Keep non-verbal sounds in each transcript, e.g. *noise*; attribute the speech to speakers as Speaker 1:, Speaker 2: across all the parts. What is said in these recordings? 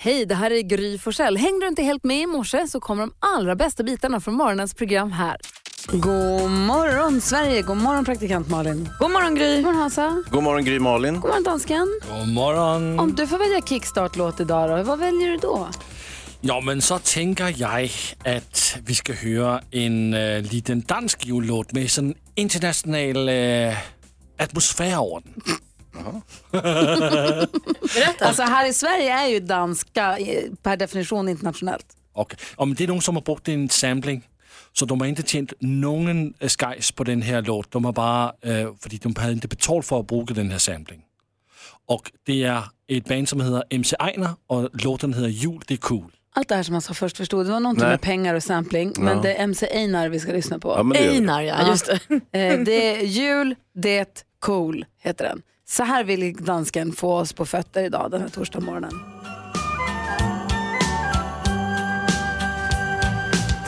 Speaker 1: Hej, det här är Gry Forssell. Hängde du inte helt med i morse så kommer de allra bästa bitarna från morgonens program här. God morgon Sverige, god morgon praktikant Malin.
Speaker 2: God morgon Gry.
Speaker 1: God morgon Hansa. Mm.
Speaker 3: God morgon Gry Malin.
Speaker 1: God morgon dansken.
Speaker 4: God morgon.
Speaker 1: Om du får välja kickstart-låt idag då, vad väljer du då?
Speaker 4: Ja, men så tänker jag att vi ska höra en äh, liten dansk jullåt med sådan internationell äh, atmosfär över den.
Speaker 2: Berätta.
Speaker 1: Alltså här i Sverige är ju danska eh, per definition internationellt.
Speaker 4: *laughs* Okay. Om det är någon som har brukt en sampling, så de har inte tjänat någon äh, skajs på den här låten. De har bara, äh, för de hade inte betalt för att bruka den här samplingen. Och det är ett band som heter MC Einar och låten heter Jul, det är cool.
Speaker 1: Allt det här som man sa först förstod, det var någonting
Speaker 3: Nej.
Speaker 1: med pengar och sampling, men
Speaker 3: Ja.
Speaker 1: det är MC Einar vi ska lyssna på.
Speaker 3: Ja, men det gör vi.
Speaker 2: Einar ja, just det.
Speaker 1: Eh, det är jul, det, cool heter den. Så här vill dansken få oss på fötter idag den här torsdag morgonen.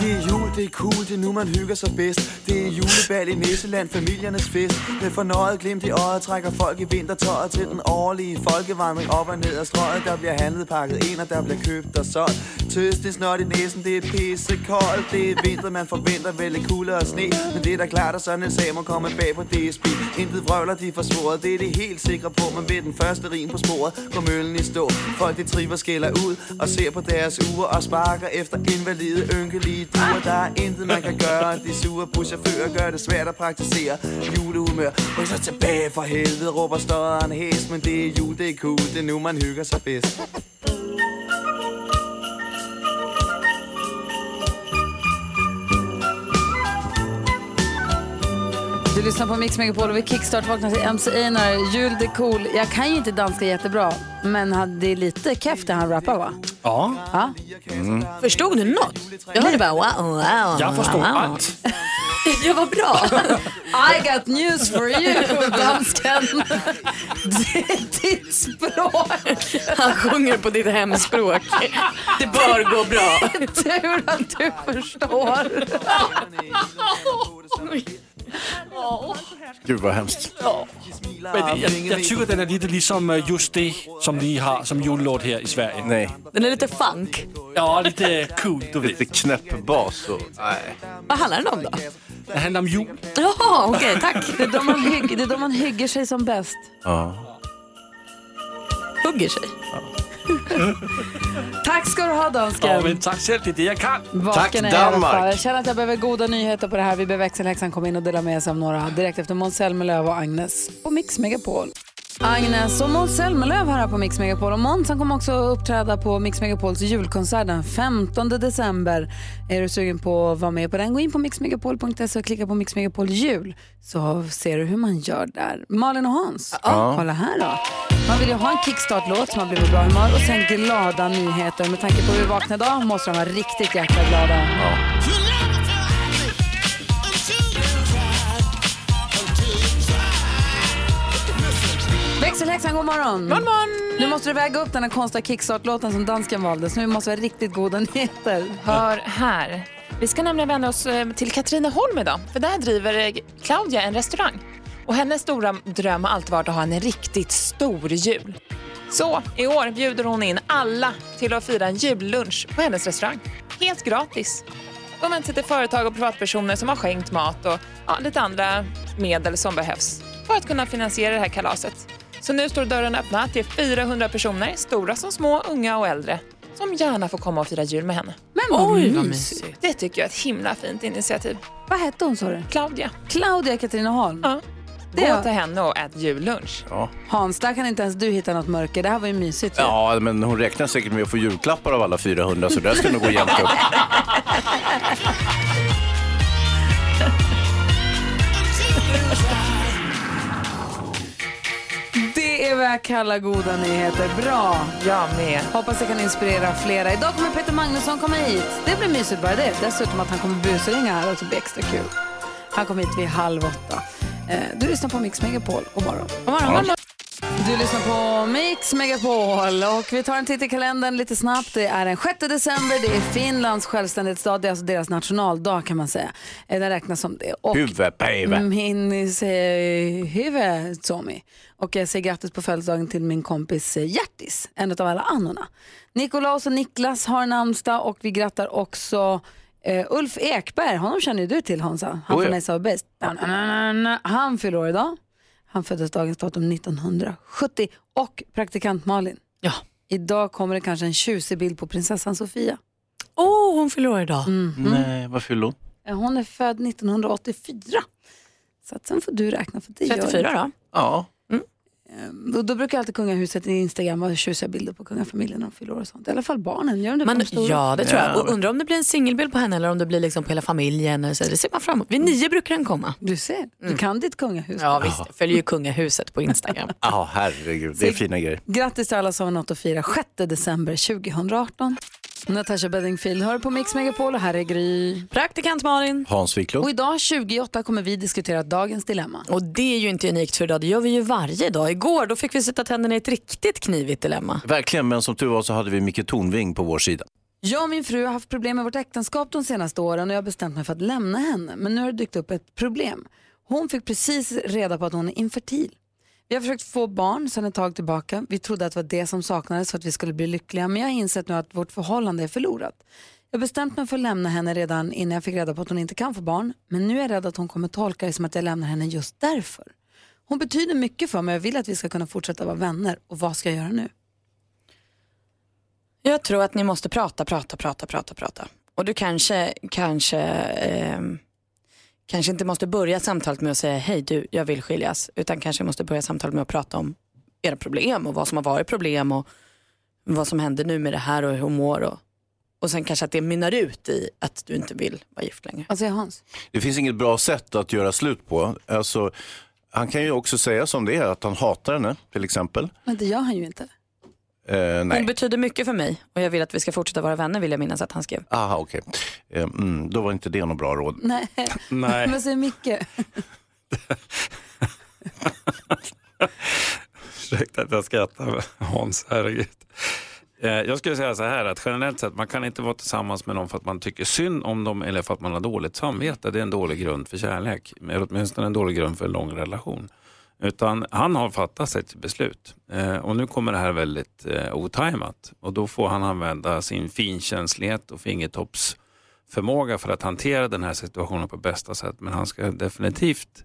Speaker 5: Det er jul, det er cool, det er nu man hygger sig bedst Det er julebal i Nisseland, familiernes fest Med fornøjet glimt i øjet trækker folk i vintertøjet Til den årlige folkevandring op og ned ad strøget Der bliver handlet pakket ind, og der bliver købt og solgt Tøst, det er snot i næsen, det er pissekoldt Det er vinter, man forventer vel lidt kulde og sne Men det er da klart, at sådan en sag må komme bag på DSB Intet vrøvler, de får svoret, det er de helt sikre på Men ved den første rim på sporet, går møllen i stå Folk de triver skælder ud og ser på deres uger Og sparker efter invalide ynkelige duer Der er intet man kan gøre De sure buschauffører gør det svært at praktisere Julehumør Ryk så tilbage for helvede Råber støderen hæs Men det er jul, det er cool Det er nu man hygger sig bedst
Speaker 1: Du lyssnar på Mix Megapol och vi kickstart vaknar till MC Einar, jul det är cool. Jag kan ju inte danska jättebra, men han- det är lite keff det han rappar va?
Speaker 4: Ja,
Speaker 1: Ja.
Speaker 2: Förstod du något? Jag hörde bara wow, wow,
Speaker 4: jag
Speaker 2: wow,
Speaker 4: förstår
Speaker 2: wow.
Speaker 4: allt.
Speaker 2: *laughs* Ja, vad bra.
Speaker 1: *laughs* I got news for you, dansken. *laughs* Det är ditt språk.
Speaker 2: Han sjunger på ditt hemspråk. Det bör gå bra.
Speaker 1: *laughs* Tur att du förstår.
Speaker 3: Gud vad hemskt.
Speaker 4: Men jag, jag tycker den är lite liksom eh, just det som ni har som jullåt här i Sverige.
Speaker 3: Nej,
Speaker 2: Den är lite funk.
Speaker 4: Ja, lite cool, du vet.
Speaker 3: lite knäpp bas och... Nej.
Speaker 2: Vad handlar den om då?
Speaker 4: Det handlar om jul.
Speaker 2: Jaha, okej, tack.
Speaker 1: Det är då man, hygg, det är då man hygger sig som bäst.
Speaker 3: Ja.
Speaker 2: Hugger sig.
Speaker 1: Tack ska du ha dansken.
Speaker 4: Ja, men tack själv, det är det jag kan.
Speaker 1: Vaken
Speaker 3: Tack,
Speaker 1: är jag i alla
Speaker 3: Danmark.
Speaker 1: fall. Jag känner att jag behöver goda nyheter på det här. Vi ber växelhäxan komma in och dela med sig av några direkt efter Måns Zelmerlöw och Agnes på Mix Megapol. Agnes och Måns Zelmerlöw här på Mix Megapol och Måns han kommer också uppträda på Mix Megapols julkonsert den 15 december. Är du sugen på att vara med på den, gå in på mixmegapol.se och klicka på Mix Megapol jul så ser du hur man gör där. Malin och Hans, kolla här då. Man vill ju ha en kickstart-låt så man blir på bra humör och sen glada nyheter. Med tanke på hur vi vaknade idag måste de vara riktigt jäkla glada. Växelhäxan, god morgon. God morgon. Nu måste du väga upp den här konstiga kickstart-låten som dansken valde, så nu måste vi ha riktigt goda nyheter.
Speaker 6: Hör här. Vi ska nämligen vända oss eh, till Katrineholm idag, för där driver eh, Claudia en restaurang. Och hennes stora dröm har alltid varit att ha en riktigt stor jul. Så i år bjuder hon in alla till att fira en jullunch på hennes restaurang. Helt gratis. De vänder sig till företag och privatpersoner som har skänkt mat och ja, lite andra medel som behövs för att kunna finansiera det här kalaset. Så nu står dörren öppna till 400 personer, stora som små, unga och äldre, som gärna får komma och fira jul med henne.
Speaker 1: Men vad
Speaker 2: Oj, vad
Speaker 1: mysigt.
Speaker 6: Det tycker jag är ett himla fint initiativ.
Speaker 1: Vad hette hon sa du?
Speaker 6: Claudia,
Speaker 1: Claudia Katrineholm.
Speaker 6: Ja.
Speaker 1: Det
Speaker 6: gå
Speaker 1: är-
Speaker 6: till henne och ät jullunch.
Speaker 1: Hans, där kan inte ens du hitta något mörker. Det här var ju mysigt. ju.
Speaker 3: ja, men hon räknar säkert med att få julklappar av alla 400 så där ska nog gå jämnt upp.
Speaker 1: *laughs* Det är vad jag kallar goda nyheter. Bra.
Speaker 6: Jag med.
Speaker 1: Hoppas det kan inspirera flera. Idag kommer Peter Magnusson komma hit. Det blir mysigt bara det. Dessutom att han kommer busringa här också blir extra kul. Han kommer hit vid halv åtta. Eh, Du lyssnar på Mix Megapol. God morgon.
Speaker 6: God morgon.
Speaker 1: Du lyssnar på Mix Megapol och vi tar en titt i kalendern lite snabbt. Det är den 6 december, det är Finlands självständighetsdag, det är alltså deras nationaldag kan man säga. Eh, Den räknas som det. *laughs* Och
Speaker 3: Huvud, baby.
Speaker 1: Mm, min eh, säger Hyve Suomi. Och jag säger grattis på födelsedagen till min kompis eh, Hjertis, en av alla annorna. Nikolaus och Niklas har namnsdag och vi grattar också eh, Ulf Ekberg, honom känner ju du till Hansa, han
Speaker 3: Oh ja.
Speaker 1: från Ace of Base. Na, na, na, na, na. Han fyller år idag. Han föddes dagens datum 1970 och praktikant Malin.
Speaker 2: Ja.
Speaker 1: Idag kommer det kanske en tjusig bild på prinsessan Sofia.
Speaker 2: Åh, oh, hon fyller år idag.
Speaker 3: Nej, vad fyller hon?
Speaker 1: Eh, Hon är född 1984. Så att sen får du räkna för det gör
Speaker 2: 34 då.
Speaker 3: Ja.
Speaker 1: Då, då brukar alltid kungahuset i Instagram ha tjusiga bilder på kungafamiljen när de fyller år och sånt. I alla fall barnen, gör de det på
Speaker 2: Men,
Speaker 1: de stora?
Speaker 2: ja, det tror jag.
Speaker 3: Ja.
Speaker 2: Och undrar om det blir en singelbild på henne eller om det blir liksom på hela familjen. eller Så. Det ser man fram emot. Vid nio brukar den komma. Mm.
Speaker 1: Du ser, du kan ditt kungahus.
Speaker 2: Ja, visst. Jag följer ju kungahuset på Instagram.
Speaker 3: Ja, herregud. Det är fina grejer.
Speaker 1: *laughs* Grattis till alla som har något att fira 6 december 2018. Natasha Bedingfield hör på Mix Megapol och här är Gry.
Speaker 2: Praktikant Malin.
Speaker 3: Hans Wiklund.
Speaker 1: Och idag 28 kommer vi diskutera dagens dilemma.
Speaker 2: Och det är ju inte unikt för idag, det gör vi ju varje dag. Igår då fick vi sätta tänderna i ett riktigt knivigt dilemma.
Speaker 3: Verkligen, men som tur var så hade vi Micke Tornving på vår sida.
Speaker 1: Jag och min fru har haft problem med vårt äktenskap de senaste åren och jag har bestämt mig för att lämna henne. Men nu har det dykt upp ett problem. Hon fick precis reda på att hon är infertil. Vi har försökt få barn sedan ett tag tillbaka. Vi trodde att det var det som saknades för att vi skulle bli lyckliga men jag har insett nu att vårt förhållande är förlorat. Jag har bestämt mig för att lämna henne redan innan jag fick reda på att hon inte kan få barn men nu är jag rädd att hon kommer tolka det som att jag lämnar henne just därför. Hon betyder mycket för mig och jag vill att vi ska kunna fortsätta vara vänner och vad ska jag göra nu?
Speaker 2: Jag tror att ni måste prata, prata, prata, prata, prata. Och du kanske, kanske, ehm, kanske inte måste börja samtalet med att säga hej du, jag vill skiljas. Utan kanske måste börja samtalet med att prata om era problem och vad som har varit problem och vad som händer nu med det här och hur hon mår. Och, och sen kanske att det mynnar ut i att du inte vill vara gift längre.
Speaker 1: Alltså Hans?
Speaker 3: Det finns inget bra sätt att göra slut på. Alltså, han kan ju också säga som det är, att han hatar henne till exempel.
Speaker 1: Men det gör han ju inte.
Speaker 3: Eh,
Speaker 2: Hon
Speaker 1: Mm.
Speaker 3: nej.
Speaker 2: betyder mycket för mig och jag vill att vi ska fortsätta vara vänner vill jag minnas att han skrev.
Speaker 3: Aha, okej. Eh, mm, då var inte det något bra råd.
Speaker 1: Nej. *laughs*
Speaker 4: Nej.
Speaker 1: Men säger Micke.
Speaker 7: Ursäkta att jag skrattar, men Hans, herregud. Eh, Jag skulle säga så här att generellt sett, man kan inte vara tillsammans med någon för att man tycker synd om dem eller för att man har dåligt samvete. Det är en dålig grund för kärlek, eller åtminstone en dålig grund för en lång relation. Utan han har fattat sitt beslut eh, och nu kommer det här väldigt eh, otajmat och då får han använda sin finkänslighet och fingertoppsförmåga för att hantera den här situationen på bästa sätt. Men han ska definitivt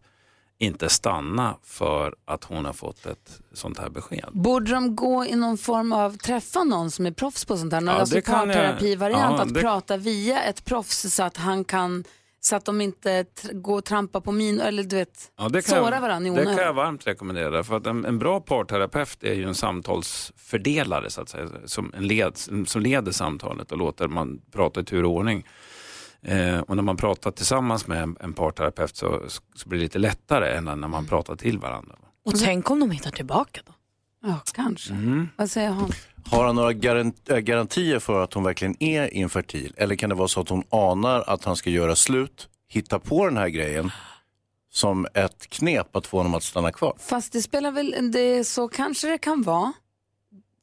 Speaker 7: inte stanna för att hon har fått ett sånt här besked.
Speaker 1: Borde de gå i någon form av, träffa någon som är proffs på sånt här? Någon
Speaker 7: Ja,
Speaker 1: alltså
Speaker 7: det kan jag-
Speaker 1: parterapivariant,
Speaker 7: ja,
Speaker 1: att
Speaker 7: det-
Speaker 1: prata via ett proffs så att han kan, så att de inte tr- går och trampar på min, eller du vet,
Speaker 7: Ja, det kan
Speaker 1: såra
Speaker 7: jag,
Speaker 1: varandra i
Speaker 7: Det kan jag
Speaker 1: onödan.
Speaker 7: varmt rekommendera. För att en, en bra parterapeut är ju en samtalsfördelare så att säga, som, en led, som leder samtalet och låter man prata i tur och ordning. Eh, och när man pratar tillsammans med en, en parterapeut så, så blir det lite lättare än när
Speaker 1: Mm.
Speaker 7: man pratar till varandra.
Speaker 2: Och tänk om de hittar tillbaka då?
Speaker 1: Ja, kanske. Vad säger han?
Speaker 3: Har han några garan- äh, garantier för att hon verkligen är infertil? Eller kan det vara så att hon anar att han ska göra slut, hitta på den här grejen som ett knep att få honom att stanna kvar?
Speaker 1: Fast det spelar väl, det är så kanske det kan vara.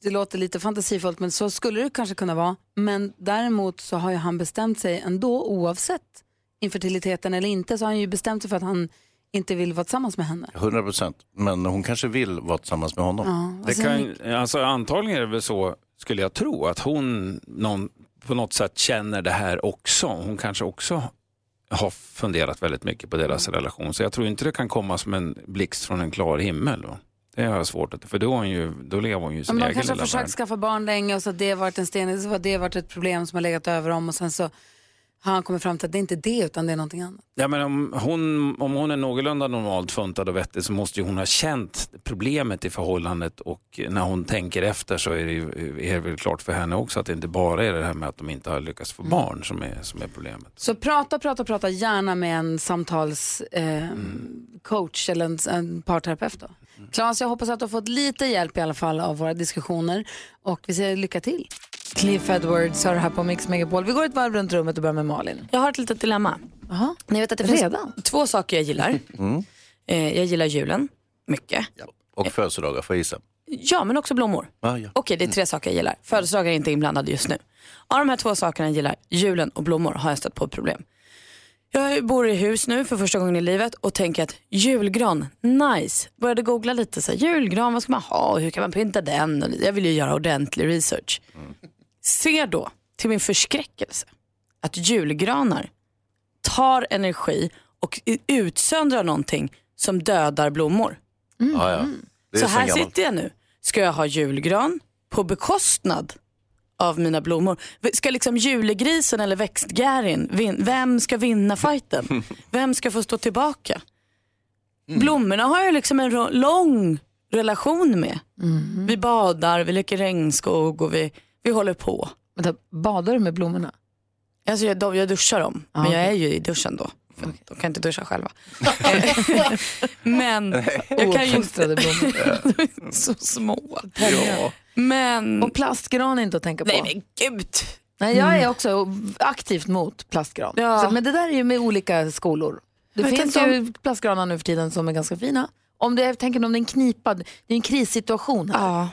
Speaker 1: Det låter lite fantasifullt men så skulle det kanske kunna vara. Men däremot så har ju han bestämt sig ändå oavsett infertiliteten eller inte så har han ju bestämt sig för att han inte vill vara tillsammans med henne.
Speaker 3: 100 procent. Men hon kanske vill vara tillsammans med honom.
Speaker 1: Ja, vad
Speaker 7: Det
Speaker 1: säger ni?
Speaker 7: kan, alltså, antagligen är det väl så, skulle jag tro, att hon någon, på något sätt känner det här också. Hon kanske också har funderat väldigt mycket på deras relation. Så jag tror inte det kan komma som en blixt från en klar himmel. Va? Det har jag svårt att... För då, är hon ju, då lever hon ju i
Speaker 1: Ja,
Speaker 7: sin
Speaker 1: men de
Speaker 7: egen lilla
Speaker 1: kanske har
Speaker 7: värld.
Speaker 1: försökt skaffa barn länge och så har det varit en sten, så har det varit ett problem som har legat över dem och sen så har han kommit fram till att det är inte det utan det är någonting annat.
Speaker 7: Ja, men om, hon, om hon är någorlunda normalt funtad och vettig så måste ju hon ha känt problemet i förhållandet och när hon tänker efter så är det, ju, är det väl klart för henne också att det inte bara är det här med att de inte har lyckats få barn som är, som är problemet.
Speaker 1: Så prata, prata, prata gärna med en samtalscoach eh, coach eller en, en parterapeut då. Claes, jag hoppas att du har fått lite hjälp i alla fall av våra diskussioner och vi säger lycka till. Cliff Edwards har det här på Mix Megapol. Vi går ett varv runt rummet och börjar med Malin.
Speaker 2: Jag har ett litet dilemma.
Speaker 1: Aha.
Speaker 2: Ni vet att det finns
Speaker 1: Redan? Mm.
Speaker 2: två saker jag gillar. Eh, jag gillar julen mycket.
Speaker 3: mm. Och födelsedagar får jag gissa.
Speaker 2: Ja, men också blommor.
Speaker 3: Ah, ja.
Speaker 2: Okej, det är tre saker jag gillar. Födelsedagar är inte inblandade just nu. Av de här två sakerna jag gillar, julen och blommor, har jag stött på problem. Jag bor i hus nu för första gången i livet och tänker att julgran, nice. Började googla lite, så här, julgran, vad ska man ha och hur kan man pynta den? Och Jag vill ju göra ordentlig research. Ser då, till min förskräckelse, att julgranar tar energi och utsöndrar någonting som dödar blommor.
Speaker 3: Ah, ja. Det är
Speaker 2: Mm, Så
Speaker 3: så
Speaker 2: här
Speaker 3: gammalt.
Speaker 2: sitter jag nu. Ska jag ha julgran på bekostnad av mina blommor? V- Ska liksom julegrisen eller växtgärin, vin- vem ska vinna
Speaker 3: *laughs*
Speaker 2: fighten? Vem ska få stå tillbaka?
Speaker 3: Mm.
Speaker 2: Blommorna har jag liksom en ro- lång relation med.
Speaker 5: Mhm.
Speaker 2: Vi badar, vi leker regnskog och vi, vi håller på.
Speaker 5: Vänta, badar du med blommorna?
Speaker 2: Alltså jag, de, jag duschar dem, men jag är ju i duschen då. För De kan inte duscha
Speaker 5: *laughs*
Speaker 2: själva.
Speaker 1: *laughs*
Speaker 2: men jag kan ju inte...
Speaker 5: Ouppfostrade blommor.
Speaker 2: *laughs* De är så små. Men...
Speaker 1: Och plastgran är inte att tänka på.
Speaker 2: Nej men gud.
Speaker 1: Nej, jag är också aktivt mot plastgran.
Speaker 2: Ja.
Speaker 1: Så, men det där är ju med olika skolor. Det
Speaker 2: Men
Speaker 1: finns
Speaker 2: tänk
Speaker 1: ju plastgranar nu för tiden som är ganska fina. Om det, jag tänker om det är en knipad, det är en krissituation här.
Speaker 2: Ja.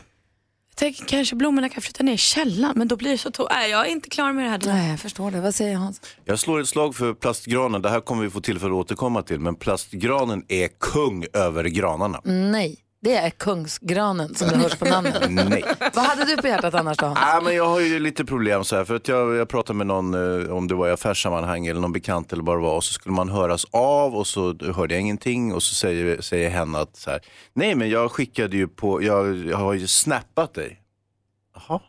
Speaker 2: Jag tänker kanske blommorna kan flytta ner i källaren men då blir det så tomt. Nej jag är inte klar med det här.
Speaker 1: Nej, jag förstår det. Vad säger Hans?
Speaker 3: Jag slår ett slag för plastgranen. Det här kommer vi få tillfälle att återkomma till. Men plastgranen är kung över granarna.
Speaker 1: Nej, det är kungsgranen
Speaker 2: *laughs*
Speaker 1: som det hörs på namnet.
Speaker 3: Nej.
Speaker 1: Vad hade du på hjärtat annars då? Hans?
Speaker 3: Ah, men jag har ju lite problem så här, för att jag, jag pratade med någon, eh, om det var i affärssammanhang eller någon bekant eller vad det var, och så skulle man höras av och så hörde jag ingenting och så säger, säger hen att så här, nej men jag skickade ju på, jag, jag har ju snappat dig. Jaha.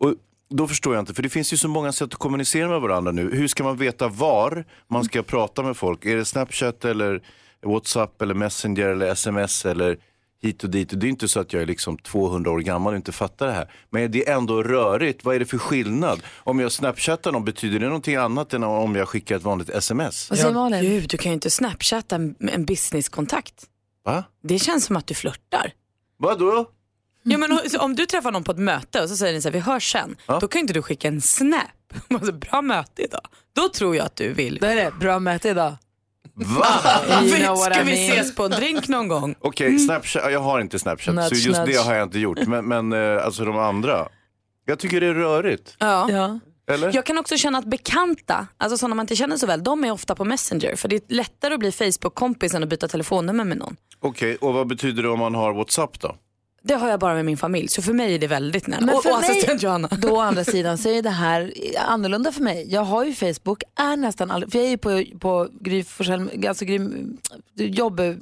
Speaker 3: Och då förstår jag inte, för det finns ju så många sätt att kommunicera med varandra nu. Hur ska man veta var man ska prata med folk? Är det Snapchat eller WhatsApp eller Messenger eller SMS eller hit och dit? Och det är inte så att jag är liksom 200 år gammal och inte fattar det här. Men det är ändå rörigt. Vad är det för skillnad? Om jag Snapchattar någon, betyder det någonting annat än om jag skickar ett vanligt SMS?
Speaker 2: Alltså,
Speaker 1: Vad säger Malin?
Speaker 2: Gud du kan ju inte snapchatta en, en businesskontakt.
Speaker 3: Va?
Speaker 2: Det känns som att du flörtar.
Speaker 3: Vadå?
Speaker 2: Ja, men om- så om du träffar någon på ett möte och så säger ni så här, vi hörs sen.
Speaker 3: Ja.
Speaker 2: Då kan ju inte du skicka en snap. *laughs* Alltså, bra möte idag. Då tror jag att du vill.
Speaker 1: Då är det bra möte idag.
Speaker 3: Va?
Speaker 1: *laughs* You know what
Speaker 2: ska
Speaker 1: I
Speaker 2: vi
Speaker 1: mean.
Speaker 2: ses på en drink någon gång? Mm.
Speaker 3: Okej, Snapchat, ja, jag har inte Snapchat,
Speaker 1: Nudge,
Speaker 3: så just det
Speaker 1: nudge.
Speaker 3: har jag inte gjort. Men, men eh, alltså de andra. Jag tycker det är rörigt,
Speaker 2: Ja.
Speaker 1: Ja.
Speaker 3: eller?
Speaker 2: Jag kan också känna att bekanta, alltså sådana man inte känner så väl, de är ofta på Messenger. För det är lättare att bli Facebook-kompis än att byta telefonnummer med någon.
Speaker 3: Okej, och vad betyder det om man har WhatsApp då?
Speaker 2: Det har jag bara med min familj, så för mig är det väldigt nära.
Speaker 1: Men
Speaker 2: Och,
Speaker 1: för
Speaker 2: och
Speaker 1: mig-
Speaker 2: assistent Johanna.
Speaker 1: *laughs* Då å andra sidan så är det här annorlunda för mig. Jag har ju Facebook, är nästan all... för jag är ju på, på Gry Forssell- alltså Gry, jobb, eh,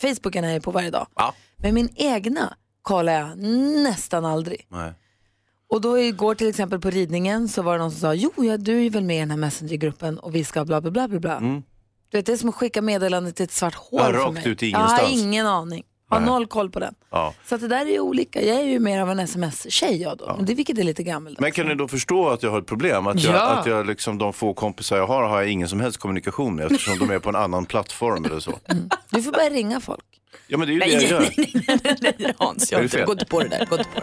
Speaker 1: Facebooken är jag på varje dag.
Speaker 3: Ja.
Speaker 1: Men min egna kollar jag nästan aldrig.
Speaker 3: Nej.
Speaker 1: Och då igår till exempel på ridningen så var det någon som sa, jo ja, du är väl med i den här messengergruppen och vi ska bla bla bla bla bla. Du vet, det är som att skicka meddelandet till ett svart hål
Speaker 3: Mm. Ja,
Speaker 1: för
Speaker 3: rakt
Speaker 1: mig.
Speaker 3: ut i
Speaker 1: Jag har
Speaker 3: ingenstans.
Speaker 1: ingen aning. Har
Speaker 3: Nej.
Speaker 1: noll koll på den.
Speaker 3: Ja.
Speaker 1: Så att det där är ju olika. Jag är ju mer av en sms-tjej jag då, Men det, vilket är lite gammaldags.
Speaker 3: Men kan ni då förstå att jag har ett problem? Att, jag,
Speaker 1: Ja.
Speaker 3: att jag liksom, de få kompisar jag har har jag ingen som helst kommunikation med eftersom de är på en annan plattform eller så.
Speaker 1: Du får börja ringa folk.
Speaker 3: Ja men det är ju det jag gör.
Speaker 2: Nej, Hans,
Speaker 3: Är
Speaker 2: jag
Speaker 3: det fel?
Speaker 2: gå inte på det där. Gå inte på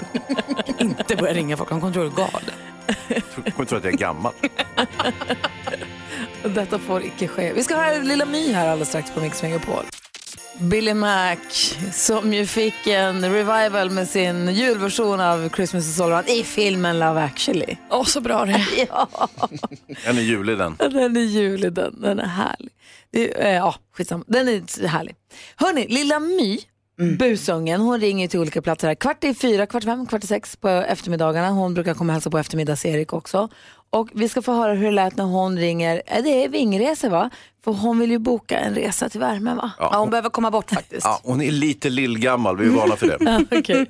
Speaker 2: det. *laughs* inte börja ringa folk, de kommer tro du är galen.
Speaker 3: Jag kommer tro att jag är gammal.
Speaker 1: Och *laughs* Detta får icke ske. Vi ska höra Lilla My här alldeles strax på Mix Megapol. Billy Mac, som ju fick en revival med sin julversion av Christmas is all around i filmen Love actually.
Speaker 2: Åh, så bra det är.
Speaker 1: Ja,
Speaker 3: En är julig den.
Speaker 1: den är julig den. Den är härlig. Det, är- eh, ja, skitsamma. Den är härlig. Hörni, Lilla My, busungen, hon ringer till olika platser här. Kvart i fyra, kvart i fem, kvart i sex på eftermiddagarna. Hon brukar komma och hälsa på eftermiddags-Erik också. Och vi ska få höra hur det lät när hon ringer. Eh, Det är vingresor va? För hon vill ju boka en resa till värmen va?
Speaker 2: Ja, hon behöver komma bort faktiskt.
Speaker 3: Ja, hon är lite lillgammal, vi är vana för det.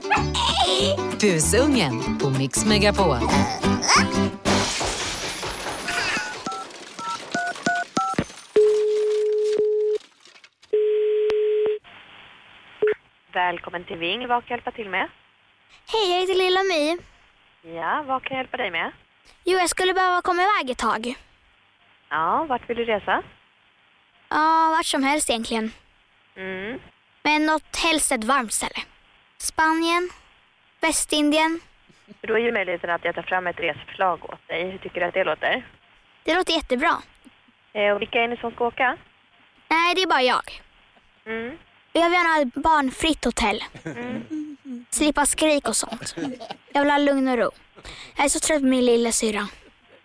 Speaker 1: *laughs*
Speaker 8: Busungen på Mix Megapol.
Speaker 9: Välkommen till Ving. Vad kan jag hjälpa till med?
Speaker 10: Hej, jag heter Lilla My.
Speaker 9: Ja, vad kan jag hjälpa dig med?
Speaker 10: Jo, jag skulle behöva komma iväg ett tag.
Speaker 9: Ja, vart vill du resa?
Speaker 10: Ja, vart som helst egentligen.
Speaker 9: Mm.
Speaker 10: Men något helst ett varmt ställe. Spanien, Västindien.
Speaker 9: Då är ju möjligheten att jag tar fram ett resförslag åt dig. Hur tycker du att det låter?
Speaker 10: Det låter jättebra.
Speaker 9: Eh, och vilka är ni som ska åka?
Speaker 10: Nej, det är bara jag. Jag vill gärna ha ett barnfritt hotell. Slippa skrik och sånt. Jag vill ha lugn och ro. Jag är så trött på min lilla syra.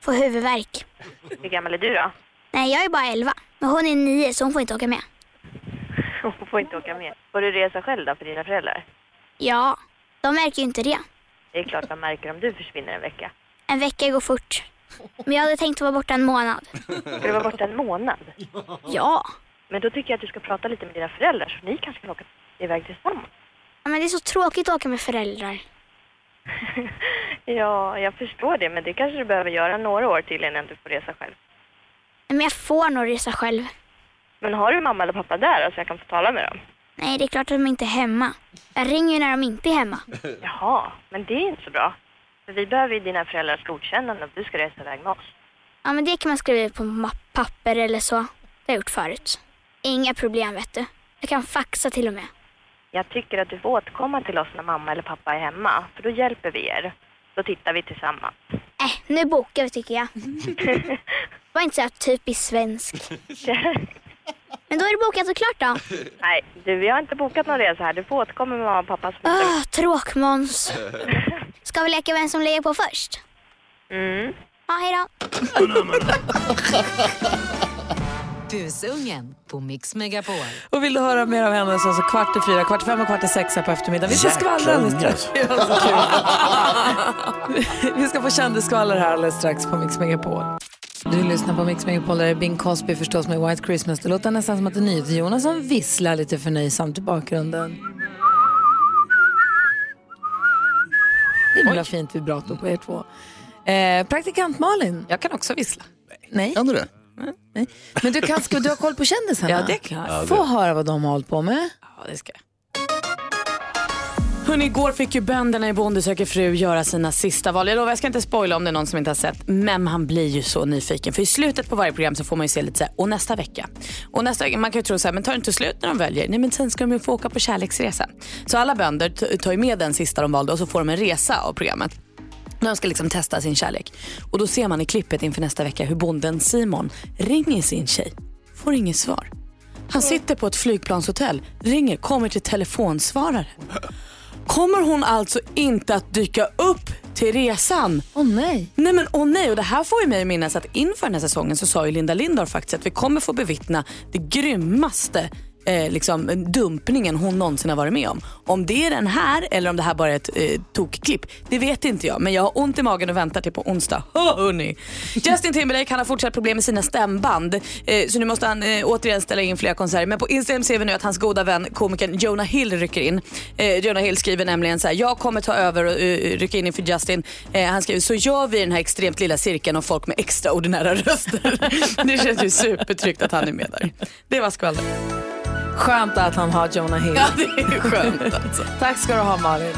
Speaker 10: Får huvudvärk.
Speaker 9: Hur gammal är du då? *laughs*
Speaker 10: Nej, jag är bara 11. Men hon är 9 så hon får inte åka med.
Speaker 9: Hon får inte åka med. Får du resa själv då för dina föräldrar?
Speaker 10: Ja, de märker ju inte det.
Speaker 9: Det är klart de märker om du försvinner en vecka.
Speaker 10: En vecka går fort. Men jag hade tänkt att vara borta en månad.
Speaker 9: Ska du vara borta en månad?
Speaker 10: Ja.
Speaker 9: Men då tycker jag att du ska prata lite med dina föräldrar så ni kanske kan åka iväg tillsammans.
Speaker 10: Ja, Men det är så tråkigt att åka med föräldrar.
Speaker 9: *laughs* Ja, jag förstår det, men det kanske du behöver göra några år till innan du får resa själv.
Speaker 10: Men jag får nog resa själv.
Speaker 9: Men har du mamma eller pappa där då, så jag kan få tala med dem?
Speaker 10: Nej, det är klart att de inte är hemma. Jag ringer ju när de inte är hemma.
Speaker 9: Jaha, men det är inte så bra. För vi behöver ju dina föräldrars godkännande om du ska resa iväg med oss.
Speaker 10: Ja, men det kan man skriva på ma- papper eller så. Det har jag gjort förut. Inga problem, vet du. Jag kan faxa till och med.
Speaker 9: Jag tycker att du får återkomma till oss när mamma eller pappa är hemma, för då hjälper vi er. Då tittar vi tillsammans.
Speaker 10: Äh, nu bokar vi tycker
Speaker 9: *laughs*
Speaker 10: jag. Var inte så här typiskt svensk.
Speaker 9: *laughs*
Speaker 10: Men då är det bokat och klart då.
Speaker 9: Nej, du, vi har inte bokat någon resa här. Du får återkomma med mamma och pappa. Som...
Speaker 10: Ah, tråkmåns. Ska vi leka vem som lägger på först?
Speaker 9: Mm.
Speaker 10: Ja, hej då.
Speaker 8: Busungen på Mix Megapol.
Speaker 11: Och vill du höra mer av henne så alltså kvart i fyra, kvart i fem och kvart i sex här på eftermiddagen. Vi ska skvallra alldeles strax. *laughs* Vi ska få kändisskvaller här alldeles strax på Mix Megapol.
Speaker 1: Du lyssnar på Mix Megapol, där är Bing Cosby förstås med White Christmas. Det låter nästan som att det är NyhetsJonas som visslar lite förnöjsamt i bakgrunden.
Speaker 11: Himla fint vibrato på er två. Eh, praktikant Malin.
Speaker 2: Jag kan också vissla.
Speaker 11: Nej. Kan du det? Nej. Men du, kan, ska, du har koll på kändisarna?
Speaker 2: Ja, det är klart. Ja, det-
Speaker 11: Få höra vad de har hållit på med.
Speaker 2: Ja, det ska jag. Hörrni, igår fick ju bönderna i Bonde söker fru göra sina sista val. Jag lovar, jag ska inte spoila om det är någon som inte har sett. Men man blir ju så nyfiken. För i slutet på varje program så får man ju se lite så här, och nästa vecka. Och nästa vecka, man kan ju tro så här, men tar det inte slut när de väljer? Nej, men sen ska de ju få åka på kärleksresa. Så alla bönder t- tar ju med den sista de valde och så får de en resa av programmet. När de ska liksom testa sin kärlek. Och då ser man i klippet inför nästa vecka hur bonden Simon ringer sin tjej. Får inget svar. Han sitter på ett flygplanshotell, ringer, kommer till telefonsvarare. Kommer hon alltså inte att dyka upp till resan?
Speaker 11: Åh nej.
Speaker 2: Nej men åh nej, och det här får ju mig att minnas att inför den här säsongen så sa ju Linda Lindor faktiskt att vi kommer få bevittna det grymmaste eh, liksom, dumpningen hon någonsin har varit med om. Om det är den här eller om det här bara är ett eh, tokklipp, det vet inte jag. Men jag har ont i magen och väntar till på onsdag. Hå, hörni! Justin Timberlake han har fortsatt problem med sina stämband eh, så nu måste han eh, återigen ställa in flera konserter. Men på Instagram ser vi nu att hans goda vän komikern Jonah Hill rycker in. Eh, Jonah Hill skriver nämligen så här, jag kommer ta över och eh, rycka in inför Justin. Eh, han skriver, så gör vi den här extremt lilla cirkeln av folk med extraordinära röster. *laughs* det känns ju supertryggt att han är med där. Det var skvallret.
Speaker 11: Skönt att han har Jonah Hill.
Speaker 2: Ja, det är ju skönt alltså.
Speaker 11: Tack ska du ha Malin.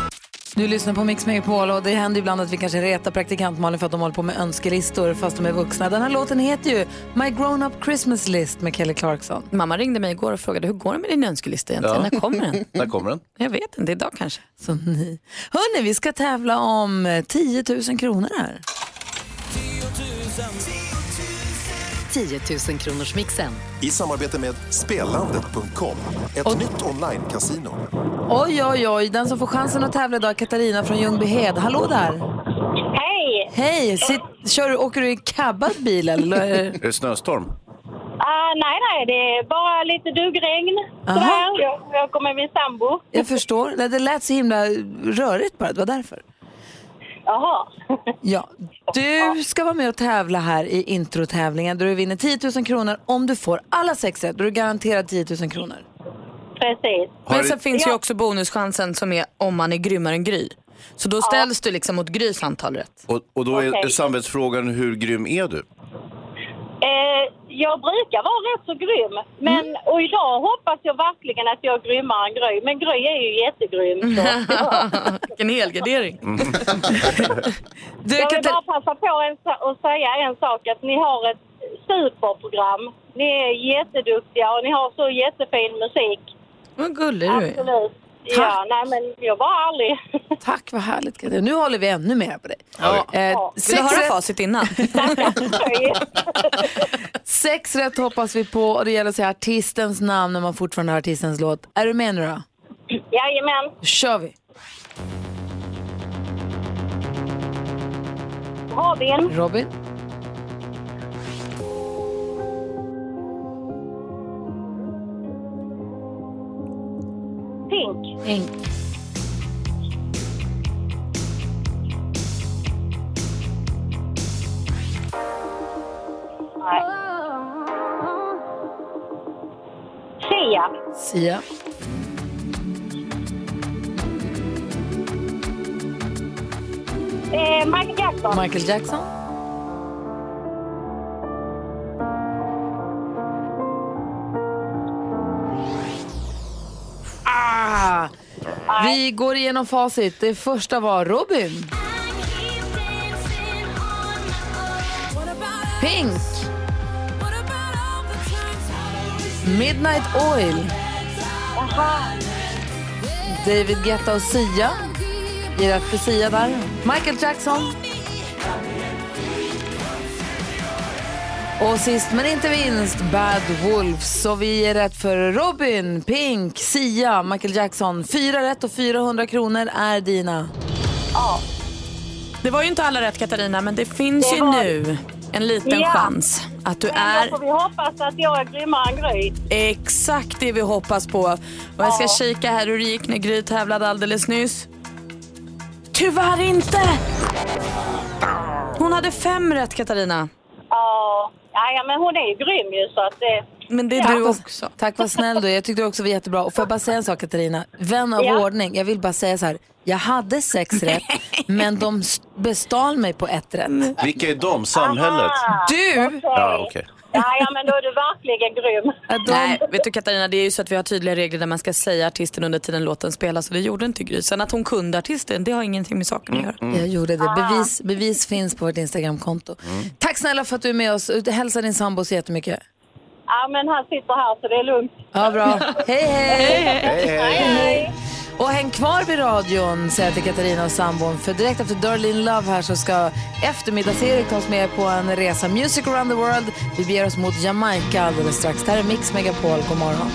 Speaker 1: Du lyssnar på Mix Megapol och det händer ibland att vi kanske retar praktikant Malin för att de håller på med önskelistor fast de är vuxna. Den här låten heter ju My Grown Up Christmas List med Kelly Clarkson.
Speaker 2: Mamma ringde mig igår och frågade, hur går det med din önskelista egentligen?
Speaker 1: Ja.
Speaker 2: När kommer
Speaker 1: *laughs*
Speaker 2: den?
Speaker 3: Där kommer den.
Speaker 2: Jag vet inte, idag kanske.
Speaker 1: Så ni. Hörni, vi ska tävla om eh, 10 000 kronor här.
Speaker 8: 10 000 kronors mixen.
Speaker 12: I samarbete med spelandet.com, ett nytt online-casino.
Speaker 1: Oj, oj, oj. Den som får chansen att tävla idag är Katarina från Ljungbyhed. Hallå där!
Speaker 13: Hej!
Speaker 1: Hej! Sitt, kör, du- åker du i cabbad bil
Speaker 2: *laughs*
Speaker 1: eller?
Speaker 3: Är det snöstorm?
Speaker 13: Ah, nej, nej, det är bara lite duggregn. Sådär. Jag, jag kommer med min sambo.
Speaker 1: Jag förstår. Nej, Det lät så himla rörigt bara, det var därför.
Speaker 13: Jaha.
Speaker 1: Ja, du ska vara med och tävla här i introtävlingen där du vinner 10 000 kronor om du får alla sex rätt. Då är du garanterad 10 000 kronor.
Speaker 13: Precis.
Speaker 2: Men sen finns ju också bonuschansen som är om man är grymmare än Gry. Så då ställs du liksom mot Grys antal rätt.
Speaker 3: Och, och då är
Speaker 13: Okej.
Speaker 3: samvetsfrågan, hur grym är du?
Speaker 13: Eh, jag brukar vara rätt så grym. Men,
Speaker 2: Mm.
Speaker 13: Och idag hoppas jag verkligen att jag är grymmare än Gry. Men Gry är ju jättegrym.
Speaker 2: *laughs*
Speaker 13: Så.
Speaker 2: Vilken helgardering.
Speaker 13: Mm.
Speaker 1: Du,
Speaker 13: jag vill
Speaker 1: Katar-
Speaker 13: bara passa på en, sa- att säga en sak. Att ni har ett superprogram. Ni är jätteduktiga och ni har så jättefin musik.
Speaker 2: Vad gullig du är.
Speaker 13: Absolut. Ja, nej men jag var ärlig.
Speaker 1: Tack, vad härligt. Katarina. Nu håller vi ännu mer på dig.
Speaker 2: Ja.
Speaker 1: Eh,
Speaker 2: Vill du
Speaker 1: sex,
Speaker 2: höra
Speaker 1: rätt,
Speaker 2: facit innan?
Speaker 1: *laughs* sex rätt hoppas vi på och det gäller att säga artistens namn när man fortfarande har artistens låt. Är du med nu då?
Speaker 13: Jajamän.
Speaker 1: Då kör vi.
Speaker 13: Robin.
Speaker 1: Robin.
Speaker 13: Pink.
Speaker 1: Pink.
Speaker 13: Nej. Sia.
Speaker 1: Sia.
Speaker 13: Eh, Michael Jackson.
Speaker 1: Michael Jackson. Ah! Vi går igenom facit. Det första var Robin. Pink. Midnight Oil. David Guetta och Sia. Ger rätt för Sia där. Michael Jackson. Och sist men inte minst Bad Wolves. Så vi är rätt för Robin, Pink, Sia, Michael Jackson. Fyra rätt och 400 kronor är dina.
Speaker 13: Ja.
Speaker 2: Det var ju inte alla rätt Katarina, men det finns
Speaker 13: Det
Speaker 2: ju
Speaker 13: var-
Speaker 2: nu en liten
Speaker 13: Ja.
Speaker 2: chans att du
Speaker 13: Men
Speaker 2: är
Speaker 13: då får vi hoppas att jag är grymmare än Gry.
Speaker 2: exakt det vi hoppas på. Och jag ska
Speaker 13: Ja.
Speaker 2: kika här hur det gick när Gry tävlade alldeles nyss. Tyvärr inte! Hon hade fem rätt Katarina.
Speaker 13: Ja, ja, ja, men hon är ju grym ju så att det...
Speaker 2: Men det
Speaker 13: ja.
Speaker 1: också. Tack vad snäll du är. Jag tyckte du också var jättebra. Och får jag bara säga en sak Katarina? Vän av
Speaker 13: Ja.
Speaker 1: ordning, jag vill bara säga så här. Jag hade sex rätt, men de s- bestal mig på ett rätt.
Speaker 3: Vilka är de? Samhället?
Speaker 1: Du!
Speaker 3: Ja, okej.
Speaker 13: Ja, ja, men då är du verkligen grym.
Speaker 2: Äh, Nej, vet du Katarina, det är ju så att vi har tydliga regler där man ska säga artisten under tiden låten spelas och det gjorde inte Gry. Sen att hon kunde artisten, det har ingenting med saken att göra.
Speaker 1: Jag gjorde det. Bevis, bevis finns på vårt Instagramkonto. Tack snälla för att du är med oss. Hälsa din sambo så jättemycket.
Speaker 13: Ja, men han sitter här så det är lugnt.
Speaker 1: Ja, bra. Hej, hej!
Speaker 13: Hej, hej. Hej, hej.
Speaker 1: Och häng kvar vid radion, säger jag till Katarina och sambon. För direkt efter Darlene Love här så ska eftermiddags-Erik ta oss med på en resa. Music around the world. Vi beger oss mot Jamaica alldeles strax. Det här är Mix Megapol. God morgon.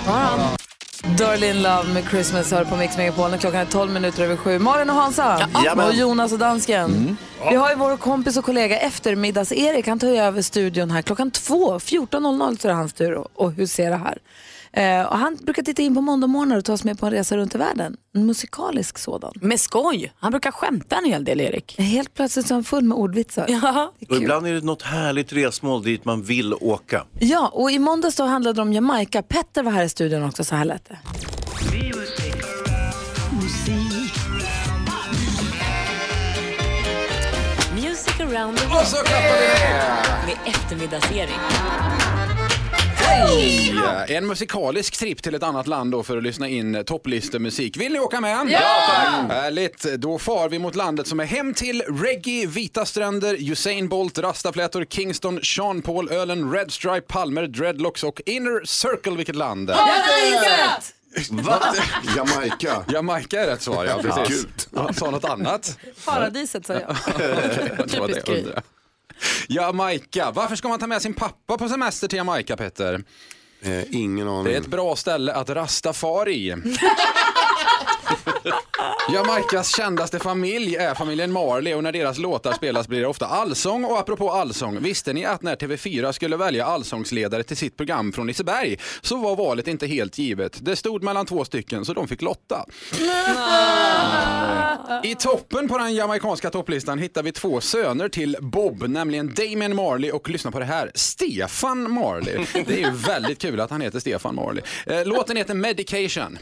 Speaker 1: Darlene Love med Christmas hör på Mix Megapol. när Klockan är 12 minuter över sju. Malin och Hansa.
Speaker 14: Jajamän.
Speaker 1: och Jonas och dansken. Vi har ju vår kompis och kollega eftermiddags-Erik. Han tar ju över studion här klockan två. 14.00 så är det hans tur och- och husera här. Eh, och han brukar titta in på måndagmorgnar och ta oss med på en resa runt i världen. En musikalisk sådan.
Speaker 2: Med skoj. Han brukar skämta en hel del, Erik.
Speaker 1: Helt plötsligt så är han full med ordvitsar.
Speaker 2: Ja.
Speaker 3: Och ibland är det något härligt resmål dit man vill åka.
Speaker 1: Ja, och i måndags då handlade det om Jamaica. Petter var här i studion också, så här lät det.
Speaker 15: Music around the world. Och så Katarina! Med eftermiddagsserie.
Speaker 16: Ja, en musikalisk trip till ett annat land då för att lyssna in topplistemusik. Vill ni åka med?
Speaker 15: Ja!
Speaker 16: Mm. Härligt! Då far vi mot landet som är hem till reggae, vita stränder, Usain Bolt, rastaflätor, Kingston, Sean Paul, ölen, Red Stripe, palmer, dreadlocks och Inner Circle. Vilket land! Va? Jamaica. Jamaica är rätt svar, ja.
Speaker 17: Ja.
Speaker 16: Precis. Jag sa något annat.
Speaker 1: Paradiset sa *laughs* jag.
Speaker 16: *laughs* Jag tror att det
Speaker 1: Typiskt grej.
Speaker 16: undrar. Jamaica. Varför ska man ta med sin pappa på semester till Jamaica, Petter? Eh, ingen aning. Det är ett bra ställe att rasta far i. Jamaicas kändaste familj är familjen Marley och när deras låtar spelas blir det ofta allsång. Och apropå allsång, visste ni att när TV4 skulle välja allsångsledare till sitt program från Liseberg så var valet inte helt givet. Det stod mellan två stycken så de fick lotta. I toppen på den jamaicanska topplistan hittar vi två söner till Bob, nämligen Damien Marley och lyssna på det här, Stefan Marley. Det är ju väldigt kul att han heter Stefan Marley. Eh, Låten heter Medication.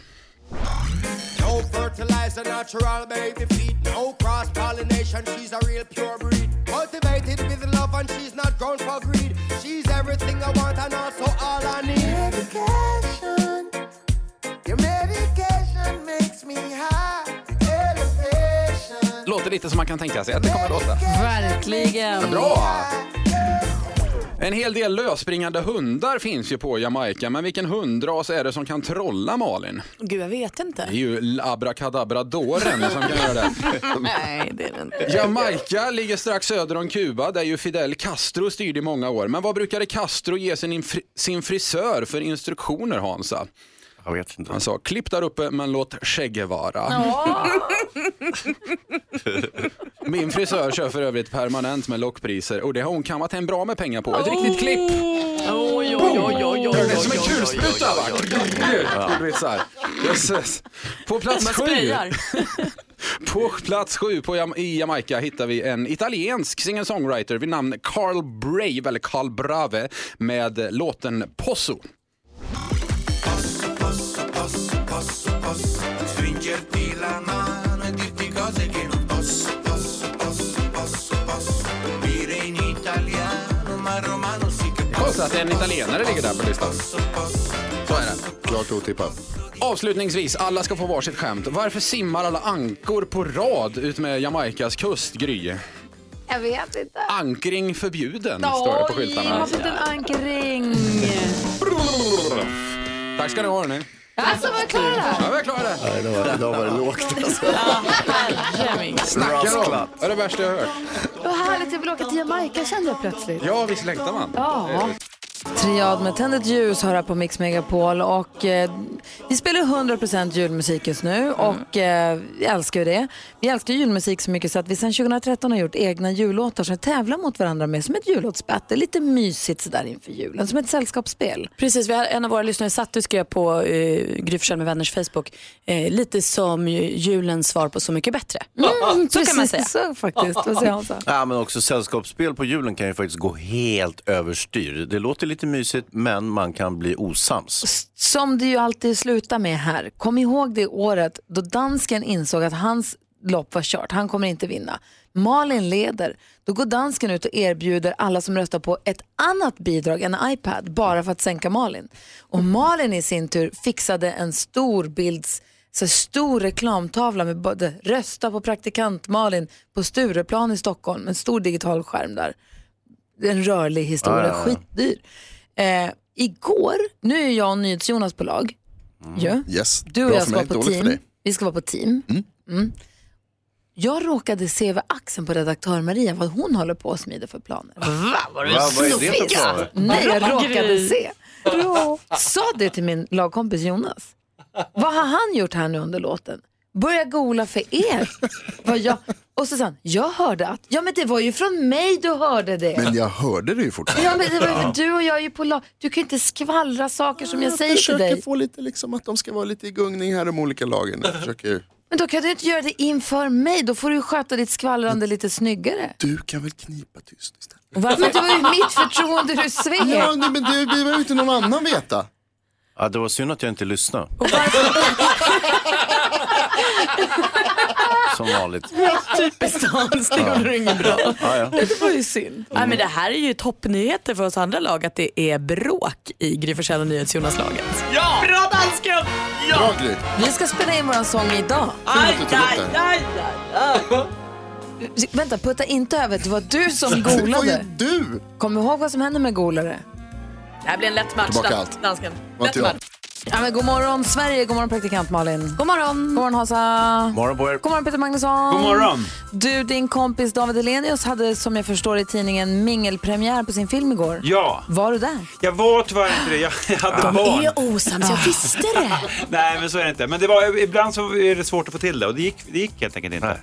Speaker 18: *laughs* No fertilizer, natural baby feed. No cross pollination, she's a real pure breed. Cultivated with love, and she's not grown for greed. She's everything I want, and also all I need. Medication, your medication makes me high. Elevation.
Speaker 16: Låter lite som man kan tänka sig att det kommer låta.
Speaker 1: Verkligen.
Speaker 16: Bra! En hel del lösspringande hundar finns ju på Jamaica, men vilken hundras är det som kan trolla Malin?
Speaker 2: Gud, jag vet inte.
Speaker 16: Det är ju labrakadabradoren som kan göra det.
Speaker 2: *laughs* Nej, det är det inte.
Speaker 16: Jamaica ligger strax söder om Kuba där ju Fidel Castro styrde i många år. Men vad brukade Castro ge sin, infri- sin frisör för instruktioner Hansa?
Speaker 3: Jag vet inte.
Speaker 16: Han sa klipp där uppe men låt skägget vara. *laughs* Min frisör kör för övrigt permanent med lockpriser och det har hon kammat hem bra med pengar på. Ett riktigt klipp.
Speaker 2: Oj, oj, oj, oj,
Speaker 16: Det är som en kulspruta va? Kulvitsar. Jösses. På plats
Speaker 2: Man
Speaker 16: sju.
Speaker 2: sprayar.
Speaker 16: På plats sju på Jam- i Jamaica hittar vi en italiensk singer-songwriter vid namn Carl Brave, eller Carl Brave, med eh, låten Posso.
Speaker 18: Posso, posso, posso, posso stringerti la mano e dirti cose che non posso, posso, posso, posso, posso dire in italiano, ma romano sì che
Speaker 16: Konstigt att en italienare ligger där på listan. Så är det. Klart otippat. Avslutningsvis, alla ska få varsitt skämt. Varför simmar alla ankor på rad ut med Jamaicas kust, Gry?
Speaker 19: Jag vet inte.
Speaker 16: Ankring förbjuden, står det på
Speaker 19: Jag
Speaker 16: skyltarna.
Speaker 19: har fått en ankring.
Speaker 16: Tack ska ni ha, hörni.
Speaker 19: Alltså, var jag klar där?
Speaker 16: Ja, vi är klara där.
Speaker 20: Nej, det var, det var lågt. alltså.
Speaker 16: Snackar om. Det är det värsta jag har hört.
Speaker 1: Vad härligt, jag vill åka till Jamaica kände jag plötsligt.
Speaker 16: Ja, visst längtar man?
Speaker 1: Ja. Triad med tändet ljus hör här på Mix Megapol och eh, vi spelar ju 100% julmusik just
Speaker 16: Mm.
Speaker 1: nu och eh, vi älskar ju det. Vi älskar ju julmusik så mycket så att vi sedan 2013 har gjort egna jullåtar som vi tävlar mot varandra med som ett jullåtsbattle. Lite mysigt sådär inför julen, som ett sällskapsspel.
Speaker 2: Precis, vi har, en av våra lyssnare satt och skrev på eh, Gry Forssell med vänners Facebook, eh, lite som ju- julens svar på Så mycket bättre.
Speaker 1: Mm,
Speaker 2: så kan man
Speaker 1: precis,
Speaker 2: säga.
Speaker 1: så faktiskt. Vad säger Hansa?
Speaker 3: Ja, men också sällskapsspel på julen kan ju faktiskt gå helt överstyr. Det låter lite mysigt, men man kan bli osams.
Speaker 1: Som det ju alltid slutar med här. Kom ihåg det året då dansken insåg att hans lopp var kört. Han kommer inte vinna. Malin leder. Då går dansken ut och erbjuder alla som röstar på ett annat bidrag, en iPad, bara för att sänka Malin. Och Malin i sin tur fixade en stor bilds så här stor reklamtavla med både rösta på praktikant Malin på Stureplan i Stockholm, en stor digital skärm där. En rörlig historia,
Speaker 11: Ja, ja, ja.
Speaker 1: skitdyr. Eh, igår, nu är jag och NyhetsJonas på lag. Ja.
Speaker 20: Yes.
Speaker 1: Du och
Speaker 20: Mm. Bra
Speaker 1: jag
Speaker 20: för
Speaker 1: ska
Speaker 20: mig,
Speaker 1: vara på
Speaker 20: dåligt för
Speaker 1: team.
Speaker 20: dig.
Speaker 1: Vi ska vara på team. Mm. Jag råkade se över axeln på redaktör Maria vad hon håller på och smider för planer. Va?
Speaker 11: Var det Va, vad är det för snofiga? planer?
Speaker 1: Nej, jag
Speaker 11: Bra
Speaker 1: råkade
Speaker 11: grej.
Speaker 1: se. Sa det till min lagkompis Jonas. Vad har han gjort här nu under låten? Börja gola för er. Vad jag... Och så sa han, jag hörde att, ja men det var ju från mig du hörde det.
Speaker 20: Men jag hörde det ju fortfarande.
Speaker 1: Ja, men det var ju för du och jag är ju på lag. Du kan ju inte skvallra saker som jag säger till
Speaker 20: försöker
Speaker 1: dig.
Speaker 20: få lite liksom att de ska vara lite i gungning här de olika lagen. Jag försöker...
Speaker 1: Men då kan du inte göra det inför mig. Då får du ju sköta ditt skvallrande lite snyggare.
Speaker 20: Du kan väl knipa tyst istället?
Speaker 1: Varför? Men det var ju mitt förtroende du svek.
Speaker 20: Ja, nej, men det behöver ju inte någon annan veta.
Speaker 3: Ja, det var synd att jag inte lyssnade, som vanligt.
Speaker 2: *laughs* Typiskt Hans, det gjorde du inget bra.
Speaker 3: Ja, ja.
Speaker 1: Det var ju synd.
Speaker 2: Nej, men det här är ju toppnyheter för oss andra lag att det är bråk i Gry Forssell och NyhetsJonas-laget.
Speaker 1: Ja! Bra dansken!
Speaker 20: Bra Gry.
Speaker 1: Vi ska spela in våran sång idag.
Speaker 20: Aj, att du tog upp det.
Speaker 1: aj, aj. Vänta, putta inte över. Det var du som
Speaker 20: *laughs* Det var ju
Speaker 1: golade.
Speaker 20: du!
Speaker 1: Kom ihåg vad som händer med golare.
Speaker 2: Det här blir en lätt match,
Speaker 1: Tillbaka
Speaker 2: dans-
Speaker 1: allt.
Speaker 2: dansken.
Speaker 20: Var inte jag.
Speaker 1: Ja, men god morgon Sverige, god morgon praktikant Malin. God morgon. God morgon Hansa.
Speaker 3: Morgon på er.
Speaker 1: God morgon Peter Magnusson.
Speaker 3: God morgon.
Speaker 1: Du, din kompis David Elenius hade som jag förstår i tidningen mingelpremiär på sin film igår.
Speaker 21: Ja,
Speaker 1: Var du där?
Speaker 21: jag var tyvärr inte det. Jag *laughs* jag hade barn.
Speaker 1: osams, jag visste det.
Speaker 21: Nej, men så är det inte. Men det var, ibland så är det svårt att få till det och det gick, det gick helt enkelt inte. Nej,
Speaker 1: *laughs*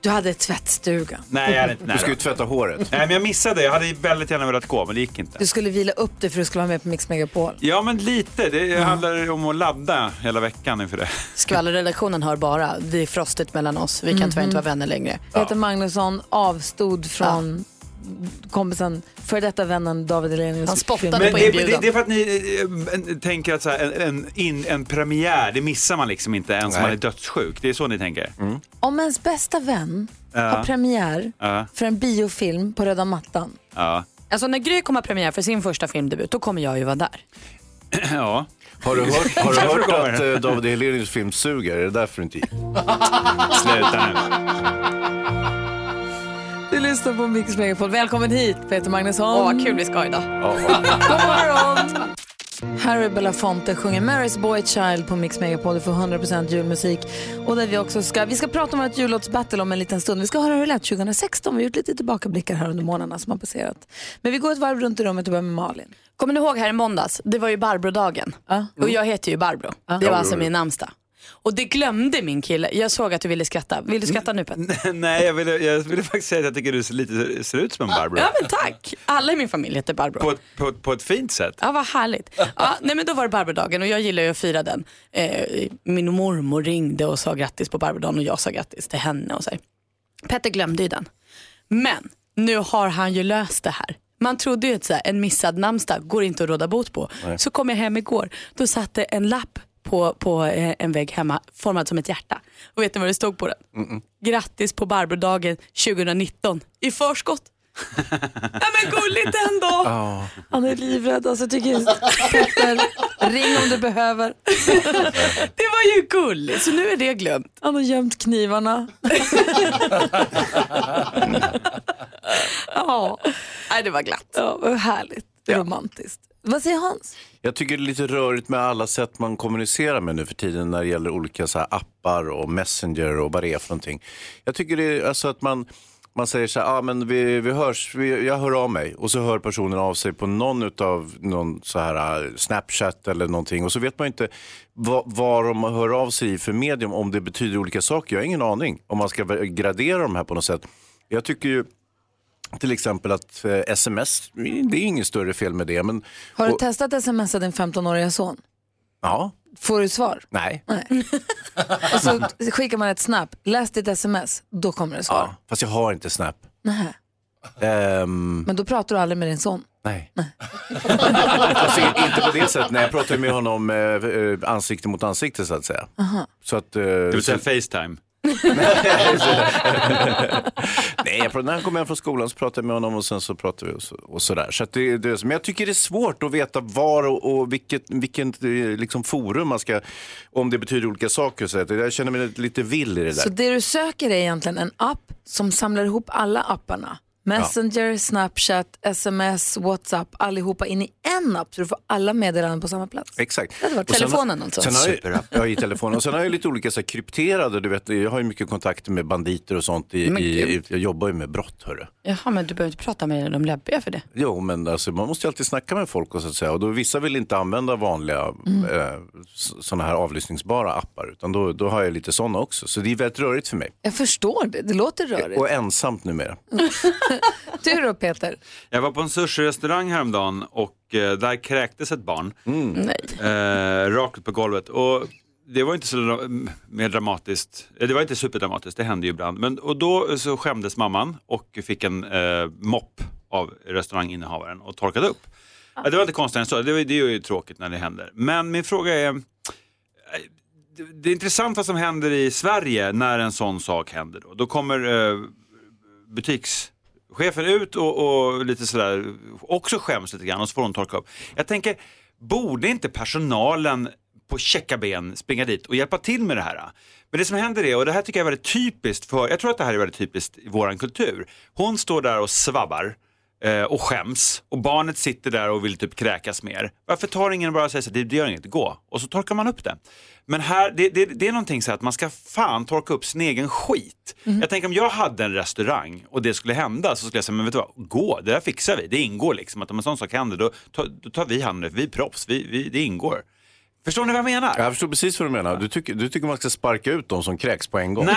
Speaker 1: Du hade tvättstuga.
Speaker 21: jag hade inte nära.
Speaker 3: Du ska ju tvätta håret.
Speaker 21: Nej, men jag missade. Jag hade väldigt gärna velat gå, men det gick inte.
Speaker 1: Du skulle vila upp dig för att du skulle vara med på Mix Megapol.
Speaker 21: Ja, men lite. Det
Speaker 1: Mm.
Speaker 21: handlar om att ladda hela veckan inför det.
Speaker 2: Skvallerredaktionen hör bara, det är frostigt mellan oss. Vi kan tyvärr inte vara vänner längre.
Speaker 1: Peter Magnusson avstod från kompisen, för detta vännen David Elenius.
Speaker 2: Han spottade
Speaker 1: film.
Speaker 21: Men det, det, det är för att ni eh, en- tänker att så här, en, en, in, en premiär, det missar man liksom inte ens om man är dödssjuk. Det är så ni tänker?
Speaker 3: Mm.
Speaker 1: Om ens bästa vän
Speaker 21: Ja.
Speaker 1: har premiär
Speaker 21: Ja.
Speaker 1: för en biofilm på röda mattan.
Speaker 21: Ja.
Speaker 2: Alltså när Gry kommer ha premiär för sin första filmdebut, då kommer jag ju vara där.
Speaker 21: *clears throat* ja.
Speaker 3: Har du hört, har du
Speaker 21: Därför
Speaker 3: hört
Speaker 21: kommer
Speaker 3: att
Speaker 21: det.
Speaker 3: eh, David Helenius film suger? Är det därför du inte gick?
Speaker 21: Sluta nu.
Speaker 1: Du lyssnar på Mix Megapol. Välkommen hit, Peter Magnusson.
Speaker 2: Åh, vad kul vi ska ha idag.
Speaker 1: *laughs* Harry Belafonte sjunger Mary's Boy Child på Mix Megapol. Du får 100% julmusik. Och där vi också ska, vi ska prata om vårt jullåtsbattle om en liten stund. Vi ska höra hur det lät 2016. Vi har gjort lite tillbakablickar här under månaderna som har passerat. Men vi går ett varv runt i rummet och börjar med Malin.
Speaker 2: Kommer ni ihåg här i måndags? Det var ju Barbro-dagen. Och jag heter ju Barbro. Det
Speaker 1: Mm. Ja,
Speaker 2: var
Speaker 1: det
Speaker 2: alltså
Speaker 1: gjorde
Speaker 2: min namnsdag. Och det glömde min kille. Jag såg att du ville skratta. Vill
Speaker 1: Mm.
Speaker 2: du skratta nu
Speaker 21: *laughs*
Speaker 2: Petter?
Speaker 21: Nej, jag ville, jag ville faktiskt säga att jag tycker du ser, lite, ser ut som en Barbro.
Speaker 2: Ja men tack. Alla i min familj heter Barbro.
Speaker 21: På, ett- på, ett- på ett fint sätt.
Speaker 2: Ja, vad härligt. Ja, nej, men då var det Barbrodagen och jag gillar ju att fira den. Eh, min mormor ringde och sa grattis på Barbrodagen och jag sa grattis till henne. Och så här. Petter glömde ju den. Men nu har han ju löst det här. Man trodde ju att så här, en missad namnsdag går inte att råda bot på.
Speaker 15: Nej.
Speaker 2: Så kom jag hem igår, då satt det en lapp på, på eh, en vägg hemma formad som ett hjärta. Och vet ni vad det stod på den? Grattis på Barbrodagen 2019 i förskott. *laughs* Nej men gulligt ändå.
Speaker 1: Han är livrädd. Alltså, jag tycker Petter, ring om du behöver.
Speaker 2: Det var ju gulligt, så nu är det glömt.
Speaker 1: Han har gömt knivarna. ja,
Speaker 2: Nej, det var glatt.
Speaker 1: ja vad härligt. Romantiskt. Vad säger Hans?
Speaker 3: Jag tycker det är lite rörigt med alla sätt man kommunicerar med nu för tiden när det gäller olika så här appar och messenger och vad det är för någonting. Jag tycker det är alltså att man, man säger så här, ah, men vi, vi hörs, vi, jag hör av mig och så hör personen av sig på någon utav någon så här eh, Snapchat eller någonting och så vet man inte vad, vad de hör av sig i för medium, om det betyder olika saker. Jag har ingen aning om man ska gradera de här på något sätt. Jag tycker ju till exempel att eh, sms, det är inget större fel med det. Men,
Speaker 1: Har du
Speaker 3: och-
Speaker 1: testat att smsa din 15-åriga son?
Speaker 3: Ja.
Speaker 1: Får du svar?
Speaker 3: Nej.
Speaker 1: Och så skickar man ett snap, läs ditt sms, då kommer det svar.
Speaker 3: Ja, fast jag har inte Snap.
Speaker 1: Nähä.
Speaker 3: Ehm,
Speaker 1: Men då pratar du aldrig med din son?
Speaker 3: nej. *laughs* alltså, i- inte på det sättet. Nej, jag pratar ju med honom eh, eh, ansikte mot ansikte så att säga.
Speaker 1: Aha.
Speaker 3: Så att, eh, det
Speaker 21: vill säga
Speaker 3: *laughs*
Speaker 21: Facetime?
Speaker 3: Nej, jag pratar, när han kom hem från skolan så pratade jag med honom och sen så pratade vi och, så, och sådär. Så att det, det, är så. men jag tycker det är svårt att veta var och, och vilket, vilket eh, liksom forum man ska, om det betyder olika saker. Så att, jag känner mig lite vill i det där.
Speaker 1: Så det du söker är egentligen en app som samlar ihop alla apparna. Messenger, Snapchat, sms, WhatsApp, allihopa in i en app så du får alla meddelanden på samma plats.
Speaker 3: Exakt.
Speaker 1: Det hade varit
Speaker 3: Och sen-
Speaker 1: telefonen alltså.
Speaker 3: Sen har jag,
Speaker 1: Superapp.
Speaker 3: ja, i telefonen. Och sen har jag lite olika så här, krypterade, du vet, jag har ju mycket kontakter med banditer och sånt. I,
Speaker 2: Men
Speaker 3: i,
Speaker 2: gud.
Speaker 3: i, jag jobbar ju med brott, hörru.
Speaker 2: Jaha, men du behöver inte prata med de läbbiga för det.
Speaker 3: Jo, men alltså, man måste ju alltid snacka med folk och så att säga. Och då, vissa vill inte använda vanliga
Speaker 2: Mm.
Speaker 3: eh, sådana här avlyssningsbara appar, utan då, då har jag lite sådana också. Så det är väldigt rörigt för mig.
Speaker 1: Jag förstår det, det låter rörigt. *laughs*
Speaker 3: Och ensamt numera.
Speaker 1: Du då Peter?
Speaker 21: Jag var på en sushi-restaurang häromdagen och eh, där kräktes ett barn. Eh, rakt ut på golvet. Och det var inte så dra- mer dramatiskt, Eh, det var inte superdramatiskt, det hände ju ibland. Men, och då eh, så skämdes mamman och fick en eh, mopp av restauranginnehavaren och torkade upp. Eh, Det var inte konstigt än så, det, var- det är ju tråkigt när det händer. Men min fråga är, eh, det- det är intressant vad som händer i Sverige när en sån sak händer. Då, då kommer eh, butikschefen ut och, och lite sådär, också skäms lite grann och så får hon torka upp. Jag tänker, borde inte personalen på checka ben springa dit och hjälpa till med det här? Men det som händer är, och det här tycker jag är väldigt typiskt för, jag tror att det här är väldigt typiskt i våran kultur. Hon står där och svabbar eh, och skäms och barnet sitter där och vill typ kräkas mer. Varför tar ingen och bara säger så här, "Det- det gör inget, gå. Och så torkar man upp det. Men här, det, det, det är någonting så här att man ska fan torka upp sin egen skit.
Speaker 1: Mhm.
Speaker 21: Jag tänker om jag hade en restaurang och det skulle hända så skulle jag säga, men vet du vad, gå, det där fixar vi. Det ingår liksom att om en sån sak händer då, ta- då tar vi hand om det, för vi är proffs, vi, vi, det ingår. Förstår ni vad jag menar?
Speaker 3: Jag förstår precis vad du menar. Du tycker, du tycker man ska sparka ut dem som kräks på
Speaker 2: *laughs*
Speaker 3: en gång.
Speaker 21: Nej,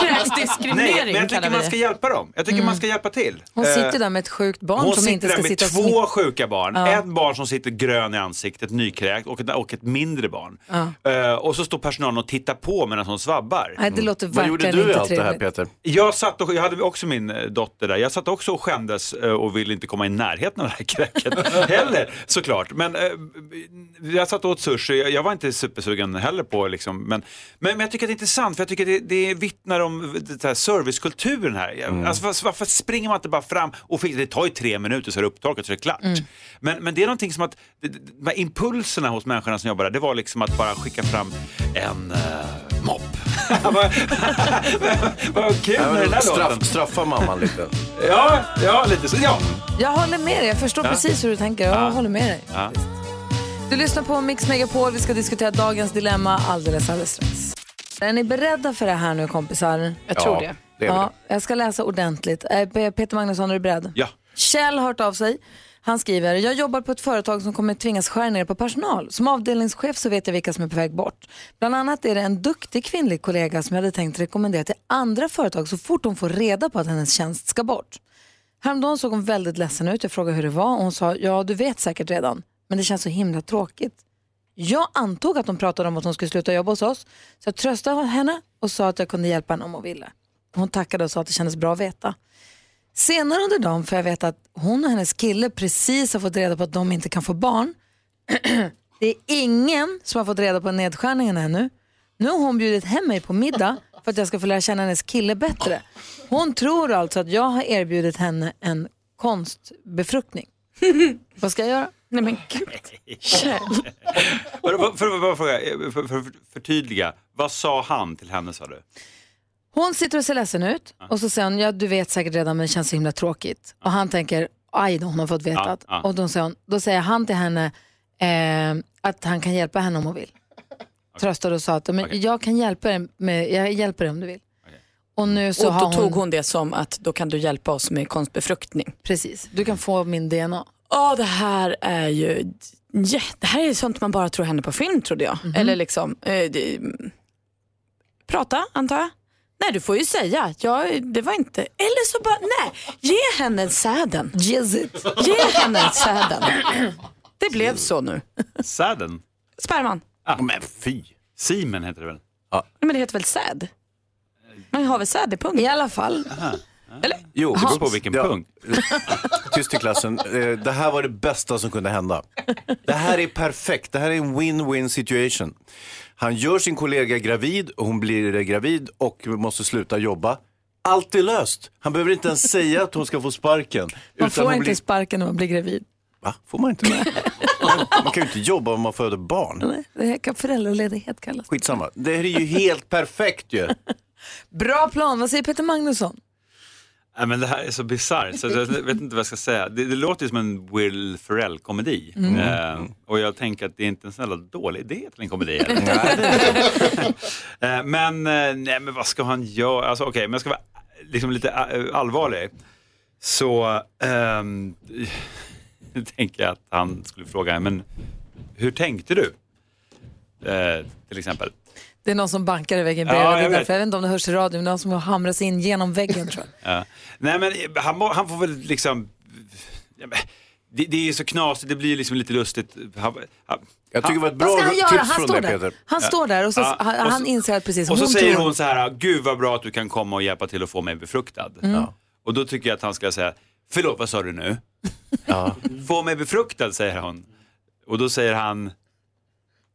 Speaker 2: Kräksdiskriminering
Speaker 21: Nej, men jag
Speaker 2: kallar
Speaker 21: tycker man
Speaker 2: vi det. Mm.
Speaker 21: ska hjälpa dem. Jag tycker man ska hjälpa till.
Speaker 1: Hon
Speaker 21: Eh,
Speaker 1: sitter där med ett sjukt barn
Speaker 21: Hon
Speaker 1: som
Speaker 21: sitter
Speaker 1: inte ska
Speaker 21: där med
Speaker 1: sitta och
Speaker 21: två sjuka barn.
Speaker 1: Ja.
Speaker 21: Ett barn som sitter grön i ansiktet, nykräkt och ett, och ett mindre barn.
Speaker 1: Ja.
Speaker 21: Eh, och så står personalen och tittar på medan hon svabbar.
Speaker 1: Nej, det låter Mm. Vad gjorde verkligen du i inte allt det här, trevligt.
Speaker 3: Peter?
Speaker 21: Jag, satt och, jag hade också min eh, dotter där. Jag satt också och skämdes eh, och ville inte komma i närheten av det här *laughs*
Speaker 1: *laughs*
Speaker 21: kräket heller såklart. Men eh, jag satt och åt sushi. Jag- Jag var inte supersugen heller på liksom. Men, men, men jag tycker att det är intressant för jag tycker att det, det vittnar om det här servicekulturen här. Alltså, varför, varför springer man inte bara fram och fick, det tar ju tre minuter så är det upptorkat så är det klart. Men, men det är någonting som att det- det- de här impulserna hos människorna som jobbar där, det var liksom att bara skicka fram en eh, mopp. Vad kul med den där låten.
Speaker 3: straff, Straffa mamman lite.
Speaker 21: Ja, ja, lite så. Ja.
Speaker 1: Jag håller med dig, jag förstår
Speaker 3: Ja.
Speaker 1: precis hur du tänker. Jag
Speaker 3: Ja.
Speaker 1: håller med dig. Du lyssnar på Mix Megapol. Vi ska diskutera dagens dilemma alldeles, alldeles strax. Är ni beredda för det här nu kompisar?
Speaker 22: Jag tror Ja, det. det är vi
Speaker 1: ja, jag ska läsa ordentligt. Eh, P- Peter Magnusson, är du beredd?
Speaker 21: Ja.
Speaker 1: Kjell har hört av sig. Han skriver, jag jobbar på ett företag som kommer tvingas skära ner på personal. Som avdelningschef så vet jag vilka som är på väg bort. Bland annat är det en duktig kvinnlig kollega som jag hade tänkt rekommendera till andra företag så fort hon får reda på att hennes tjänst ska bort. Häromdagen såg hon väldigt ledsen ut. Jag frågade hur det var och hon sa, ja du vet säkert redan, men det känns så himla tråkigt. Jag antog att hon pratade om att hon skulle sluta jobba hos oss, så jag tröstade henne och sa att jag kunde hjälpa henne om hon ville. Hon tackade och sa att det kändes bra att veta. Senare under dagen får jag veta att hon och hennes kille precis har fått reda på att de inte kan få barn. *clears throat* Det är ingen som har fått reda på nedskärningen ännu. Nu har hon bjudit hem mig på middag för att jag ska få lära känna hennes kille bättre. Hon tror alltså att jag har erbjudit henne en *laughs* konstbefruktning. Vad ska jag göra? Nej men gud. *laughs* Kjell.
Speaker 21: För, för, för, för, för, för, för, förtydliga, vad sa han till henne sa du?
Speaker 1: Hon sitter och ser ledsen ut och så säger hon, ja du vet säkert redan men det känns så himla tråkigt. Och han tänker, aj då hon har fått veta.
Speaker 21: Ja,
Speaker 1: att-
Speaker 21: ja.
Speaker 1: Och då säger, hon, då säger han till henne eh, att han kan hjälpa henne om hon vill. Tröstade och sa att men jag kan hjälpa dig, med, jag hjälper dig om du vill. Och nu så
Speaker 2: och då
Speaker 1: har hon,
Speaker 2: tog hon det som att då kan du hjälpa oss med konstbefruktning.
Speaker 1: precis, du kan få min DNA.
Speaker 2: Ja, det här är ju ja, det här är ju sånt man bara tror händer på film trodde jag. Eller liksom, eh, det, prata antar jag. Nej, du får ju säga, ja, det var inte, eller så bara, nej, ge henne säden.
Speaker 1: Yes it.
Speaker 2: Ge henne *clears throat* säden. Det blev så nu. *laughs*
Speaker 21: Säden?
Speaker 2: Sperman,
Speaker 21: Ah. Men fy. Simen heter det väl?
Speaker 2: nej, men det heter väl säd? Man har väl säd i punkt? I
Speaker 1: alla fall.
Speaker 3: Jo,
Speaker 2: Det beror på vilken
Speaker 3: punkt. *laughs* Tyst i klassen. Eh, Det här var det bästa som kunde hända. Det här är perfekt. Det här är en win-win situation. Han gör sin kollega gravid och hon blir eh, gravid och måste sluta jobba. Allt är löst. Han behöver inte ens säga att hon ska få sparken.
Speaker 1: Man
Speaker 3: hon
Speaker 1: får inte
Speaker 3: blir-
Speaker 1: sparken när man blir gravid.
Speaker 3: Va? Får man inte det? Man kan ju inte jobba om man föder barn.
Speaker 1: Det här kan föräldraledighet kallas.
Speaker 3: Skitsamma. Det här är ju helt perfekt ju.
Speaker 1: Bra plan, vad säger Peter Magnusson?
Speaker 21: Nej, men det här är så bisarrt så jag vet inte vad jag ska säga. Det, det låter ju som en Will Ferrell-komedi.
Speaker 1: Mm.
Speaker 21: Eh, och jag tänker att det är inte en sån jävla dålig idé till en komedi. heller.
Speaker 2: *laughs*
Speaker 21: *laughs* eh, men, eh, nej, men vad ska han göra? Alltså, Okej, men jag ska vara liksom, lite eh, allvarlig. Så ehm, *laughs* tänker jag att han skulle fråga, men hur tänkte du? Eh, till exempel.
Speaker 1: Det är någon som bankar i väggen
Speaker 21: Ja,
Speaker 1: bredvid. det
Speaker 21: jag
Speaker 1: är
Speaker 21: vet.
Speaker 1: därför, jag vet inte om det hörs i radio, men det är någon som har hamrat sig in genom väggen tror jag.
Speaker 21: Ja. Nej, men han, må- han får väl liksom... Ja, men Det, det är så knasigt, det blir liksom lite lustigt. Han, jag tycker det var ett
Speaker 1: Vad ska han göra? Han står, där. han står där och så, han, han inser att precis
Speaker 21: Och så
Speaker 1: hon
Speaker 21: säger
Speaker 1: tror-
Speaker 21: hon så här, gud vad bra att du kan komma och hjälpa till att få mig befruktad.
Speaker 1: Mm.
Speaker 21: Och då tycker jag att han ska säga, förlåt vad sa du nu? *laughs* Få mig befruktad säger hon. Och då säger han,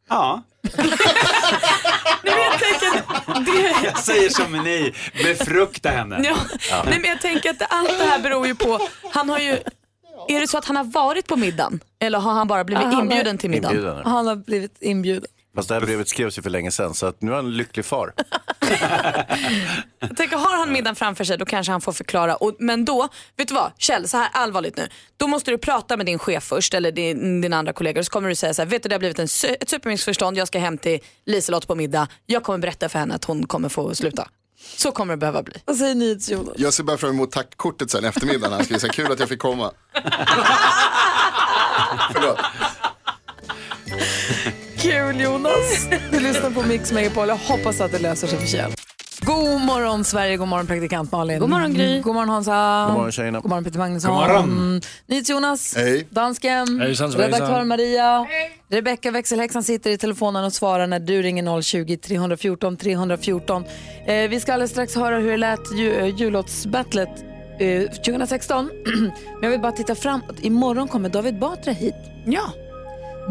Speaker 21: ja.
Speaker 2: Det-
Speaker 21: Jag säger som ni, befrukta henne.
Speaker 2: Ja. Nej, men jag tänker att allt det här beror ju på, han har ju, är det så att han har varit på middagen? Eller har han bara blivit
Speaker 1: Han har-
Speaker 2: inbjuden till middagen?
Speaker 3: Inbjuden.
Speaker 1: Han har blivit inbjuden.
Speaker 3: Fast det här brevet skrevs ju för länge sedan så att nu är han en lycklig far.
Speaker 2: Jag tänker, har han middagen framför sig då kanske han får förklara. Och, men då, vet du vad, Kjell, så här allvarligt nu. Då måste du prata med din chef först eller din, din andra kollega och så kommer du säga så här, vet du det har blivit en, su- ett supermissförstånd, jag ska hem till Liselott på middag, jag kommer berätta för henne att hon kommer få sluta. Så kommer det behöva bli.
Speaker 1: Vad säger ni till Jonas?
Speaker 20: Jag ser bara fram emot tackkortet sen eftermiddagen. Han skriver så här, kul att jag
Speaker 1: *laughs*
Speaker 20: fick komma. Ah,
Speaker 1: Kul Jonas! *laughs* Du lyssnar på Mix Megapol. Jag hoppas att det löser sig för Kjell. God morgon Sverige, god morgon praktikant Malin.
Speaker 2: God morgon, Gry.
Speaker 1: God morgon Hansa.
Speaker 3: God morgon, tjejerna.
Speaker 1: God morgon Peter Magnusson.
Speaker 3: God morgon.
Speaker 1: Jonas.
Speaker 3: Hej.
Speaker 1: Dansken.
Speaker 3: Hejsan svejsan.
Speaker 1: Redaktör Maria. Rebecka växelhäxan sitter i telefonen och svarar när du ringer 020-314 314. Eh, vi ska alldeles strax höra hur det lät ju, eh, jullåtsbattlet eh, 2016. *clears throat* Men jag vill bara titta framåt. Imorgon kommer David Batra hit.
Speaker 2: Ja.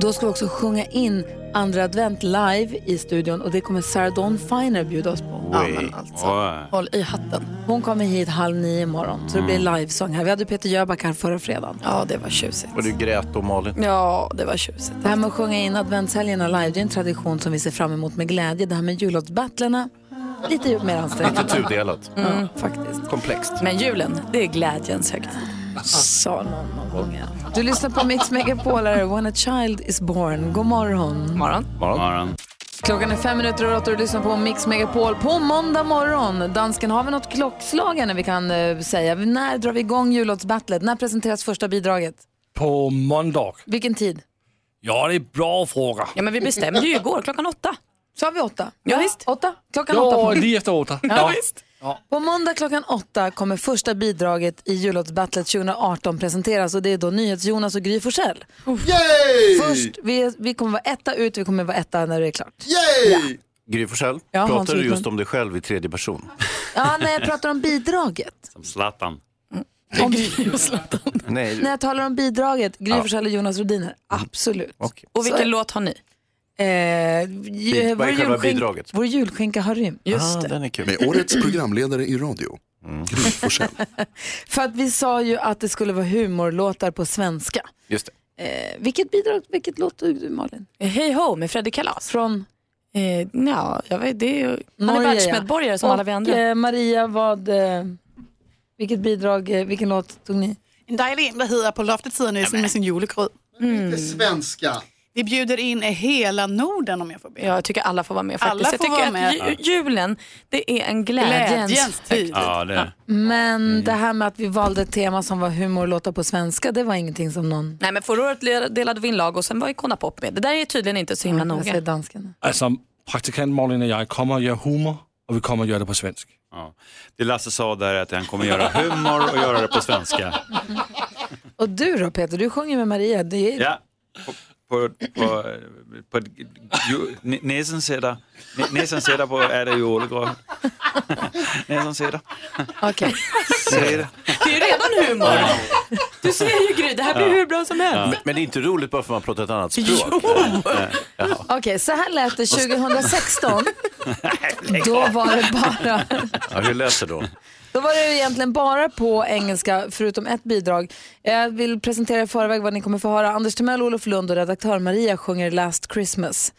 Speaker 1: Då ska vi också sjunga in andra advent live i studion och det kommer Sarah Dawn Finer bjuda oss på.
Speaker 2: Ja, men alltså. Håll i hatten.
Speaker 1: Hon kommer hit halv nio imorgon så det blir livesång här. Vi hade Peter Jöback här förra fredagen.
Speaker 2: Mm. Ja, det var tjusigt.
Speaker 3: Och du grät och Malin.
Speaker 2: Ja, det var tjusigt.
Speaker 1: Det här med att sjunga in adventshelgerna live, det är en tradition som vi ser fram emot med glädje. Det här med jullåtsbattlarna, Lite mer ansträngt.
Speaker 3: Lite tudelat.
Speaker 1: Mm, faktiskt.
Speaker 3: Komplext.
Speaker 2: Men julen, det är glädjens högtid.
Speaker 1: Sa någon någon gång. ja. Du lyssnar på Mix Megapol här, When a child is born. God morgon. morgon.
Speaker 21: Morgon.
Speaker 1: Klockan är fem minuter över åtta och du lyssnar på Mix Megapol på måndag morgon. Dansken, har vi något klockslag här när vi kan eh, säga? När drar vi igång jullåtsbattlet? När presenteras första bidraget?
Speaker 4: På måndag.
Speaker 1: Vilken tid?
Speaker 4: Ja, det är bra fråga.
Speaker 1: Ja, men vi bestämde ju igår, klockan åtta. Sa vi åtta? Ja, visst. Åtta? Klockan åtta
Speaker 4: Ja,
Speaker 1: på
Speaker 4: lige efter åtta.
Speaker 1: Ja, visst. På måndag klockan åtta kommer första bidraget i jullåtsbattlet 2018 presenteras och det är då NyhetsJonas och Gry Forssell.
Speaker 3: Yay!
Speaker 1: Först, vi, vi kommer vara etta ut, vi kommer vara etta när det är klart.
Speaker 3: Gry Forssell,
Speaker 1: Ja, Hans
Speaker 3: pratar du just
Speaker 1: Wiklund.
Speaker 3: om dig själv i tredje person?
Speaker 1: Ja, när jag pratar om bidraget.
Speaker 21: Som Zlatan.
Speaker 1: Om,
Speaker 2: *laughs*
Speaker 3: Nej,
Speaker 1: när jag talar om bidraget, Gry
Speaker 21: Ja.
Speaker 1: Forssell och Jonas Rodiner. Absolut.
Speaker 2: Mm. Och vilken
Speaker 1: låt har ni? Eh, ju-
Speaker 20: Vad är
Speaker 1: vår
Speaker 20: själva
Speaker 1: julskin-
Speaker 20: bidraget?
Speaker 1: Vår julskinka har rymt.
Speaker 20: ah,
Speaker 1: det.
Speaker 20: Den är kul. Med årets programledare i radio.
Speaker 3: Mm.
Speaker 20: Gry Forssell.
Speaker 1: *clears throat* För att vi sa ju att det skulle vara humorlåtar på svenska.
Speaker 3: Just det.
Speaker 1: Eh, vilket bidrag, vilket låt tog du Malin?
Speaker 2: Hej ho med Fredrik Kalas.
Speaker 1: Från?
Speaker 2: Eh, ja, jag vet, det är ju... Han är
Speaker 1: Norge, ja.
Speaker 2: världsmedborgare som
Speaker 1: Och,
Speaker 2: alla vi andra.
Speaker 1: Eh, Maria, vad, eh, vilket bidrag, eh, vilken låt tog ni?
Speaker 23: En dejlig en, vad heter På loftet sidan nu med sin julekryd.
Speaker 1: Mm.
Speaker 23: svenska. Vi bjuder in hela Norden om jag får be.
Speaker 2: Ja, jag tycker alla får vara med faktiskt.
Speaker 23: Alla
Speaker 2: jag
Speaker 23: får
Speaker 2: tycker
Speaker 23: vara
Speaker 2: att
Speaker 23: med.
Speaker 2: ju- julen, det är en glädjens,
Speaker 23: Glädjens tid.
Speaker 21: Ja, det är
Speaker 1: Men
Speaker 21: Mm.
Speaker 1: det här med att vi valde ett tema som var humorlåtar på svenska, det var ingenting som någon...
Speaker 2: Nej men förra året le- delade vi in lag och sen var Icona Pop med. Det där är tydligen inte så himla
Speaker 1: Jag säger
Speaker 2: noga.
Speaker 1: dansken.
Speaker 4: Altså, praktikant Malin och jag kommer att göra humor och vi kommer att göra det på svenska.
Speaker 21: Ja. Det Lasse sa där är att han kommer göra humor och göra det på svenska.
Speaker 1: *laughs* Och du då Peter, du sjunger med Maria. Det är...
Speaker 21: Ja. På, på, på, på ju, n- näsan sitter, n- näsan sitter på är det julegröt. Näsan sitter.
Speaker 1: Okej.
Speaker 21: Sitter.
Speaker 2: Det är ju redan humor. Du ser ju Gry, det här blir
Speaker 3: Ja.
Speaker 2: hur bra som helst.
Speaker 3: Men det är inte roligt bara för att man pratar ett annat
Speaker 2: *laughs*
Speaker 3: språk.
Speaker 2: Jo!
Speaker 3: Nej. Jaha.
Speaker 1: Okej, så här lät
Speaker 21: *laughs*
Speaker 1: det 2016. då var det bara...
Speaker 3: Ja, hur lät det då?
Speaker 1: Då var det egentligen bara på engelska, förutom ett bidrag. Jag vill presentera i förväg vad ni kommer få höra. Anders Timell, Olof Lund och redaktör Maria sjunger Last Christmas.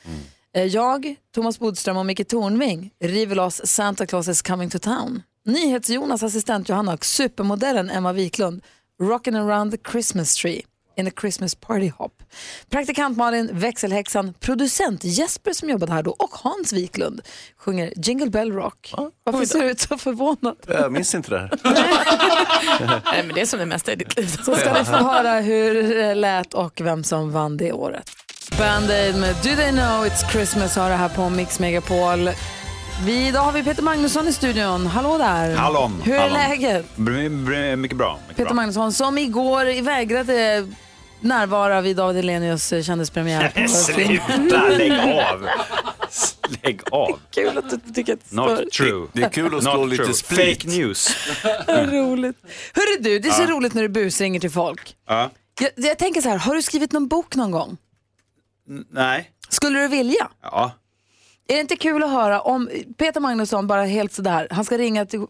Speaker 1: Eh, Jag, Thomas Bodström och Micke Tornving river loss Santa Claus is coming to town. NyhetsJonas assistent Johanna och supermodellen Emma Wiklund rockin' around the Christmas tree in a Christmas party hop. Praktikant Malin, växelhäxan, producent Jesper som jobbade här då och Hans Wiklund sjunger Jingle Bell Rock. Varför ser du ut så förvånad?
Speaker 3: Jag minns inte det här.
Speaker 2: *laughs* Nej men det är som det mesta i ditt liv.
Speaker 1: Så ska ni få höra hur det lät och vem som vann det året. Band-Aid med Do They Know It's Christmas har det här på Mix Megapol. Vi, idag har vi Peter Magnusson i studion. Hallå där!
Speaker 21: Hallon.
Speaker 1: Hur är
Speaker 21: hallon.
Speaker 1: läget?
Speaker 21: Br- br- Mycket bra. Mycket
Speaker 1: Peter
Speaker 21: bra.
Speaker 1: Magnusson som igår vägrade närvara vid David Hellenius eh,
Speaker 21: *laughs*
Speaker 1: kändispremiär. på-
Speaker 21: Sluta, lägg av. Lägg av.
Speaker 1: Kul att du tycker att
Speaker 21: Not true.
Speaker 3: Det är kul att slå
Speaker 21: Not
Speaker 3: lite
Speaker 21: true.
Speaker 3: split.
Speaker 21: Fake news.
Speaker 1: Vad *laughs* roligt. Hörru du, det är så
Speaker 21: Ja.
Speaker 1: roligt när du busringer till folk.
Speaker 21: *laughs* Ja.
Speaker 1: Jag, jag tänker så här, har du skrivit någon bok någon gång?
Speaker 21: N- Nej.
Speaker 1: Skulle du vilja?
Speaker 21: Ja.
Speaker 1: Är det inte kul att höra om Peter Magnusson bara helt sådär, han ska ringa till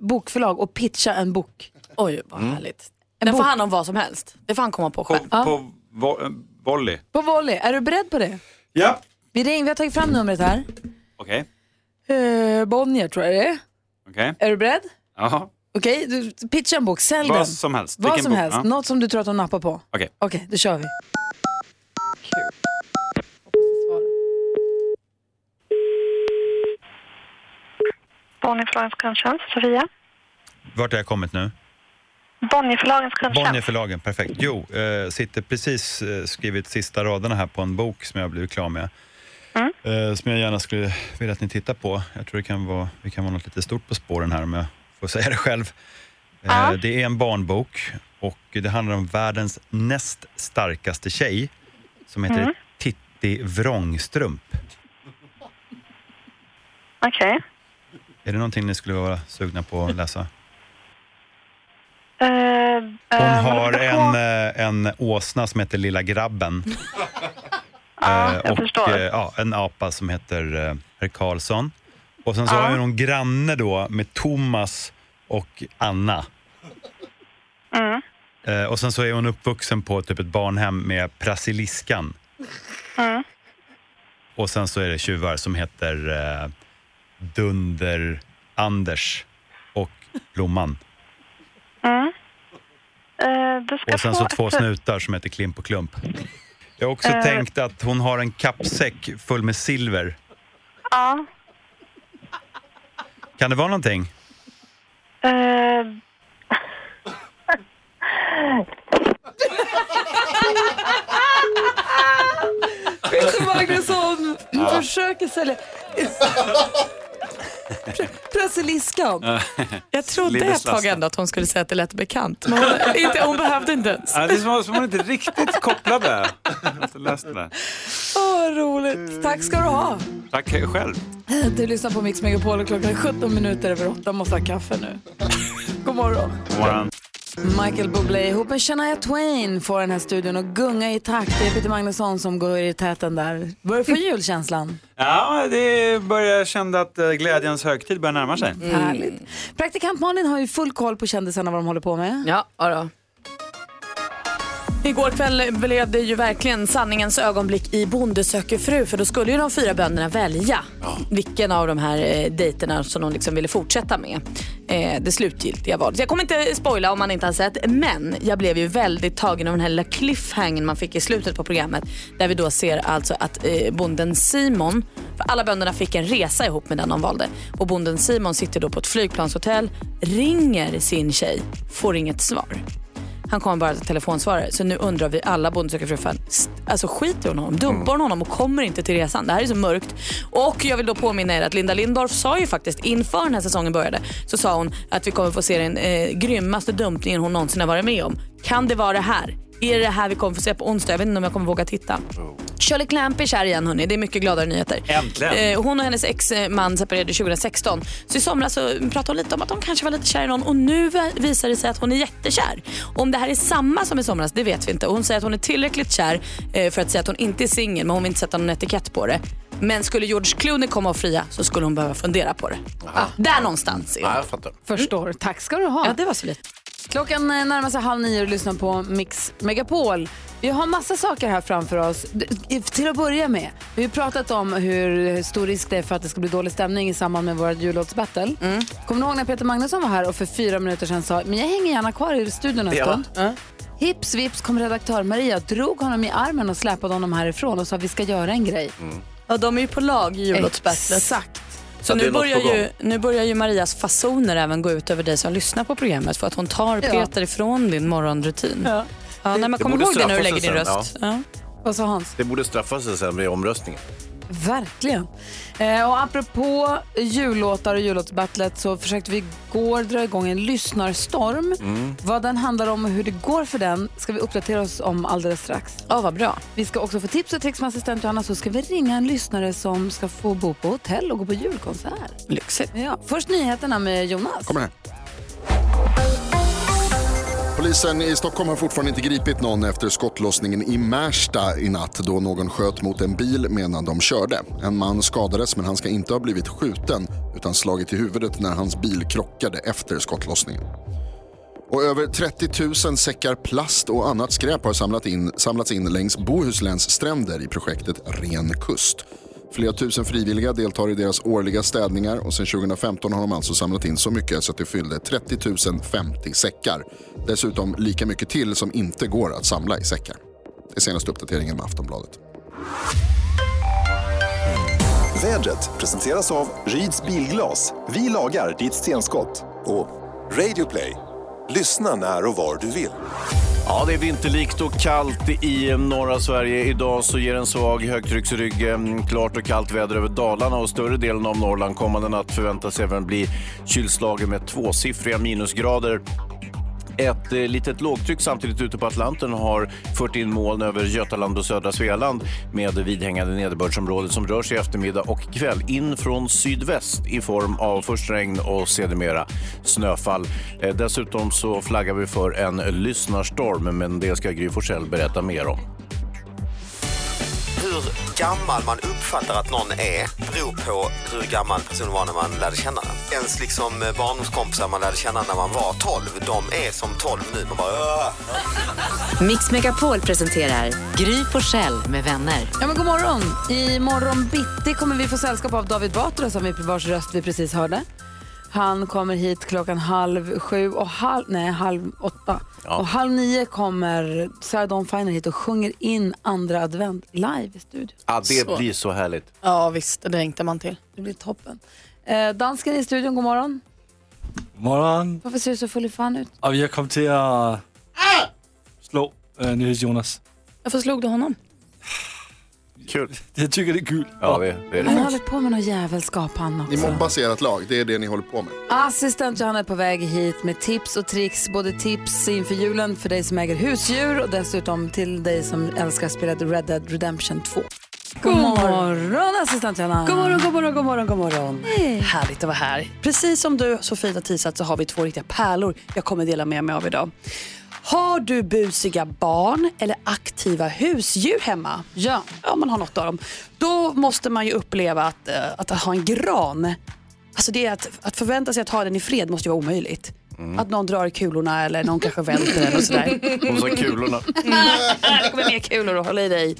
Speaker 1: bokförlag och pitcha en bok.
Speaker 2: Oj, vad härligt. Den får han om vad som helst. Det får han komma på själv.
Speaker 1: Ja.
Speaker 21: På vo- eh, volley.
Speaker 1: På volley, är du beredd på det?
Speaker 21: Ja.
Speaker 1: Vi, ring, vi har tagit fram numret här.
Speaker 21: Okej.
Speaker 1: Eh, Bonnier tror jag det är.
Speaker 21: Okej.
Speaker 1: Är du beredd?
Speaker 21: Jaha.
Speaker 1: Okej, du pitcha en bok, sälj
Speaker 21: Vad
Speaker 1: den.
Speaker 21: som helst.
Speaker 1: Vad
Speaker 21: Vilken
Speaker 1: som
Speaker 21: bok?
Speaker 1: helst,
Speaker 21: Ja.
Speaker 1: något som du tror att de nappar på.
Speaker 21: Okej.
Speaker 1: Okej, då kör vi.
Speaker 17: Bonnierförlagens kundtjänst, Sofia.
Speaker 21: Vart har jag kommit nu?
Speaker 17: Bonnierförlagens kundtjänst.
Speaker 21: Bonnierförlagen, perfekt. Jo, eh, sitter precis eh, skrivit sista raderna här på en bok som jag blev klar med. Eh, som jag gärna skulle vilja att ni tittar på. Jag tror det kan vara, det kan vara något lite stort på spåren här om jag får säga det själv. Eh, Det är en barnbok och det handlar om världens näst starkaste tjej som heter
Speaker 17: Mm.
Speaker 21: Titti Vrångstrump.
Speaker 17: Okej.
Speaker 21: Är det någonting ni skulle vara sugna på att läsa?
Speaker 17: Eh,
Speaker 21: Hon
Speaker 17: eh,
Speaker 21: har
Speaker 17: vad ska-
Speaker 21: en, eh, en åsna som heter
Speaker 17: *laughs*
Speaker 21: Lilla grabben. Eh,
Speaker 17: jag
Speaker 21: och,
Speaker 17: förstår.
Speaker 21: eh, Ja, en apa som heter eh, Herr Karlsson. Och sen så har hon en granne då med Thomas och Anna.
Speaker 17: Mm.
Speaker 21: Eh, och sen så är hon uppvuxen på typ ett barnhem med Brasiliskan.
Speaker 17: Mm.
Speaker 21: Och sen så är det tjuvar som heter eh, Dunder-Anders och Blomman.
Speaker 24: Mm. Eh, du ska
Speaker 21: Och sen
Speaker 24: få
Speaker 21: så två
Speaker 24: ett-
Speaker 21: snutar som heter Klimp och Klump. Jag har också
Speaker 24: Eh.
Speaker 21: tänkt att hon har en kappsäck full med silver.
Speaker 24: Ja.
Speaker 21: Kan det vara någonting?
Speaker 24: Eh.
Speaker 1: Peter Magnusson
Speaker 8: Ja.
Speaker 1: försöker sälja... Brasiliskan.
Speaker 2: Jag trodde
Speaker 25: Lille
Speaker 2: ett tag
Speaker 25: Slasta.
Speaker 2: ändå att hon skulle säga att det lät bekant. Men hon, inte, hon behövde inte ens.
Speaker 25: Ja, det är som som man inte riktigt kopplade. Jag har inte läst det där.
Speaker 1: Åh, vad roligt. Tack ska du ha.
Speaker 25: Tack själv.
Speaker 1: Du lyssnar på Mix Megapol och klockan är 17 minuter över 8. Måste ha kaffe nu. *laughs* God morgon. Michael Bublé ihop med Shania Twain får den här studion att gunga i takt. Det är Peter Magnusson som går i täten där. Börjar
Speaker 2: Mm.
Speaker 1: få julkänslan.
Speaker 9: Ja, det börjar, jag kände att eh, glädjens högtid börjar närma sig.
Speaker 2: Mm.
Speaker 1: Härligt. Praktikant Malin har ju full koll på kändisarna vad de håller på med.
Speaker 2: Ja, då. Igår kväll blev det ju verkligen sanningens ögonblick i Bonde söker fru för då skulle ju de fyra bönderna välja vilken av de här eh, dejterna som de liksom ville fortsätta med. Eh, det slutgiltiga valet. Så Jag kommer inte spoila om man inte har sett men jag blev ju väldigt tagen av den här lilla cliffhangern man fick i slutet på programmet där vi då ser alltså att eh, bonden Simon, för alla bönderna fick en resa ihop med den de valde och bonden Simon sitter då på ett flygplanshotell, ringer sin tjej, får inget svar. Han kommer bara till telefonsvarare. Så nu undrar vi alla Bonde söker fru-fan, st- alltså skiter hon i honom? Dumpar hon honom och kommer inte till resan? Det här är så mörkt. Och jag vill då påminna er att Linda Lindorff sa ju faktiskt inför den här säsongen började så sa hon att vi kommer få se den eh, grymmaste dumpningen hon någonsin har varit med om. Kan det vara det här? Är det det här vi kommer få se på onsdag? Jag vet inte om jag kommer våga titta. Shirley Clamp är kär igen hörni. Det är mycket gladare nyheter.
Speaker 9: Äntligen.
Speaker 2: Eh, hon och hennes ex-man separerade 2016. Så i somras så pratade hon lite om att de kanske var lite kär i någon och nu vi- visar det sig att hon är jättekär. Om det här är samma som i somras, det vet vi inte. Och Hon säger att hon är tillräckligt kär eh, för att säga att hon inte är singel men hon vill inte sätta någon etikett på det. Men skulle George Clooney komma och fria så skulle hon behöva fundera på det. Ah, där någonstans är det.
Speaker 3: jag fattar.
Speaker 1: Mm. Förstår. Tack ska du ha.
Speaker 2: Ja, det var så lite.
Speaker 1: Klockan eh, närmar sig halv nio och lyssnar på Mix Megapol. Vi har massa saker här framför oss. D- i- Till att börja med, vi har pratat om hur stor risk det är för att det ska bli dålig stämning i samband med vårt
Speaker 2: Mm.
Speaker 1: jullåtsbattle. Kommer ni ihåg när Peter Magnusson var här och för fyra minuter sedan sa men jag hänger gärna kvar i studion en
Speaker 16: Ja.
Speaker 1: stund. Hips vips kom redaktör Maria, drog honom i armen och släpade honom härifrån och sa vi ska göra en grej.
Speaker 2: Ja, de är ju på lag i jullåtsbattlet.
Speaker 1: Exakt.
Speaker 2: Så
Speaker 1: Ja, det
Speaker 2: nu
Speaker 1: är något
Speaker 2: börjar,
Speaker 1: på gång.
Speaker 2: ju, nu börjar ju Marias fasoner även gå ut över dig som lyssnar på programmet för att hon tar
Speaker 1: Ja.
Speaker 2: Peter ifrån din morgonrutin. Ja. när man
Speaker 3: Det
Speaker 2: kommer
Speaker 3: borde
Speaker 2: ihåg det när du
Speaker 3: straffa
Speaker 2: lägger
Speaker 3: sig
Speaker 2: din
Speaker 3: sen,
Speaker 2: röst. Ja.
Speaker 1: Vad sa Hans?
Speaker 3: Det borde straffa sig sen vid omröstningen.
Speaker 1: Verkligen. Eh, och apropå jullåtar och jullåtsbattlet så försökte vi igår dra igång en lyssnarstorm.
Speaker 8: Mm.
Speaker 1: Vad den handlar om och hur det går för den ska vi uppdatera oss om alldeles strax.
Speaker 2: Ja, vad bra.
Speaker 1: Vi ska också få tips och tricks med assistent Johanna så ska vi ringa en lyssnare som ska få bo på hotell och gå på julkonsert.
Speaker 2: Lyxigt.
Speaker 1: Ja, först nyheterna med Jonas.
Speaker 20: Kommer här. Polisen i Stockholm har fortfarande inte gripit någon efter skottlossningen i Märsta i natt då någon sköt mot en bil medan de körde. En man skadades men han ska inte ha blivit skjuten utan slagit i huvudet när hans bil krockade efter skottlossningen. Och över 30 000 säckar plast och annat skräp har samlat in, samlats in längs Bohusläns stränder i projektet Ren kust. Flera tusen frivilliga deltar i deras årliga städningar och sedan 2015 har de alltså samlat in så mycket så att det fyllde 30 050 säckar. Dessutom lika mycket till som inte går att samla i säckar. Det är senaste uppdateringen med Aftonbladet.
Speaker 17: *laughs* Vädret presenteras av Ryds bilglas. Vi lagar ditt stenskott. Och Radioplay. Lyssna när och var du vill.
Speaker 3: Ja, det är vinterlikt och kallt i norra Sverige. Idag så ger en svag högtrycksrygg eh, klart och kallt väder över Dalarna och större delen av Norrland. Kommande natt förväntas även bli kylslagen med tvåsiffriga minusgrader. Ett eh, litet lågtryck samtidigt ute på Atlanten har fört in moln över Götaland och södra Svealand med vidhängande nederbördsområde som rör sig i eftermiddag och kväll in från sydväst i form av först regn och sedermera snöfall. Eh, Dessutom så flaggar vi för en lyssnarstorm, men det ska Gry Forssell berätta mer om.
Speaker 9: hur gammal man uppfattar att någon är beror på hur gammal personen var när man lärde känna den. Ens liksom eh, barndomskompisar man lärde känna när man var 12, de är som 12 nu. Man bara "Åh."
Speaker 8: Mix Megapol presenterar Gry på Själ med vänner.
Speaker 1: Ja, men god morgon! I morgon bitti kommer vi få sällskap av David Batra som vi, vars röst vi precis hörde. Han kommer hit klockan halv sju och halv, nej, halv åtta. Och halv nio kommer Sarah Dawn Finer hit och sjunger in andra advent live i studion.
Speaker 3: Ja, det blir så härligt.
Speaker 11: Ja visst, det längtar man till. Det blir toppen.
Speaker 1: Eh, dansken i studion, god morgon.
Speaker 4: Morgen.
Speaker 1: Varför ser du så full i fan ut?
Speaker 4: Og jeg kom til at slå øh, Niels Jonas.
Speaker 11: Varför slog du honom?
Speaker 3: Kul.
Speaker 4: Jeg tykker, det er gult.
Speaker 3: Ja, det, det
Speaker 1: Han håller på med någon jävelskap han
Speaker 20: Ni
Speaker 1: också.
Speaker 20: mobbar ert lag, det är det ni håller på med.
Speaker 1: Assistent Johanna är på väg hit med tips och tricks, både tips inför julen för dig som äger husdjur och dessutom till dig som älskar spelet Red Dead Redemption 2. God *laughs* morgon assistent Johanna.
Speaker 23: God morgon, god morgon, god morgon, god morgon. Härligt att vara här. Precis som du så fint har teasat så har vi två riktiga pärlor jag kommer dela med mig av idag. Har du busiga barn eller aktiva husdjur hemma? Ja. Ja, man har något av dem. Då måste man ju uppleva att, eh, att ha en gran. Alltså det är att, att förvänta sig att ha den i fred måste ju vara omöjligt. Att någon drar i kulorna eller någon kanske välter den och sådär.
Speaker 3: *laughs* Hon sa kulorna.
Speaker 23: det kommer mer kulor att hålla i dig.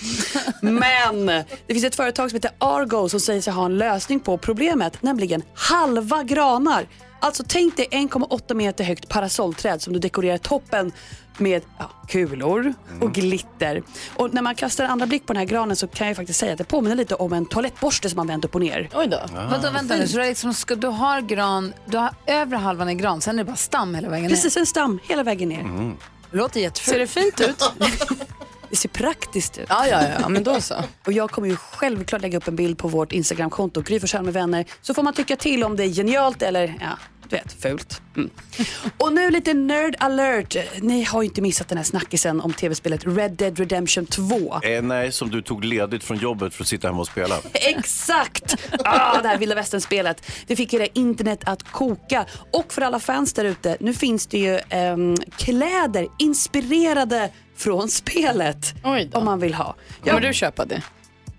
Speaker 23: Men det finns ett företag som heter Argo som säger sig ha en lösning på problemet, nämligen halva granar. Alltså tänk dig 1,8 meter högt parasollträd som du dekorerar toppen med ja, kulor och glitter. Och när man kastar en andra blick på den här granen så kan jag faktiskt säga att det påminner lite om en toalettborste som man vänt upp och ner. Oj då.
Speaker 1: Vadå, vänta nu, så du, är liksom, ska, du har gran, du har övre halvan i gran, sen är det bara stam hela vägen
Speaker 23: Precis, en stam hela vägen ner.
Speaker 1: Det låter jättefult.
Speaker 23: Ser det fint
Speaker 1: *laughs*
Speaker 23: ut? Det ser praktiskt ut. Ja, ja, ja, men då så. *laughs* Och jag kommer ju självklart lägga upp en bild på vårt Instagramkonto, Gry Forssell med vänner, så får man tycka till om det är genialt eller, ja, du vet, fult. Mm. Och nu lite nerd alert. Ni har ju inte missat den här snackisen om tv-spelet Red Dead Redemption 2.
Speaker 3: Eh, nej, som du tog ledigt från jobbet för att sitta hemma och spela.
Speaker 23: Exakt! Ah, det här vilda västern-spelet. Det fick hela internet att koka. Och för alla fans där ute, nu finns det ju ehm, kläder inspirerade från spelet. Om man vill ha.
Speaker 11: Kommer du köpa det?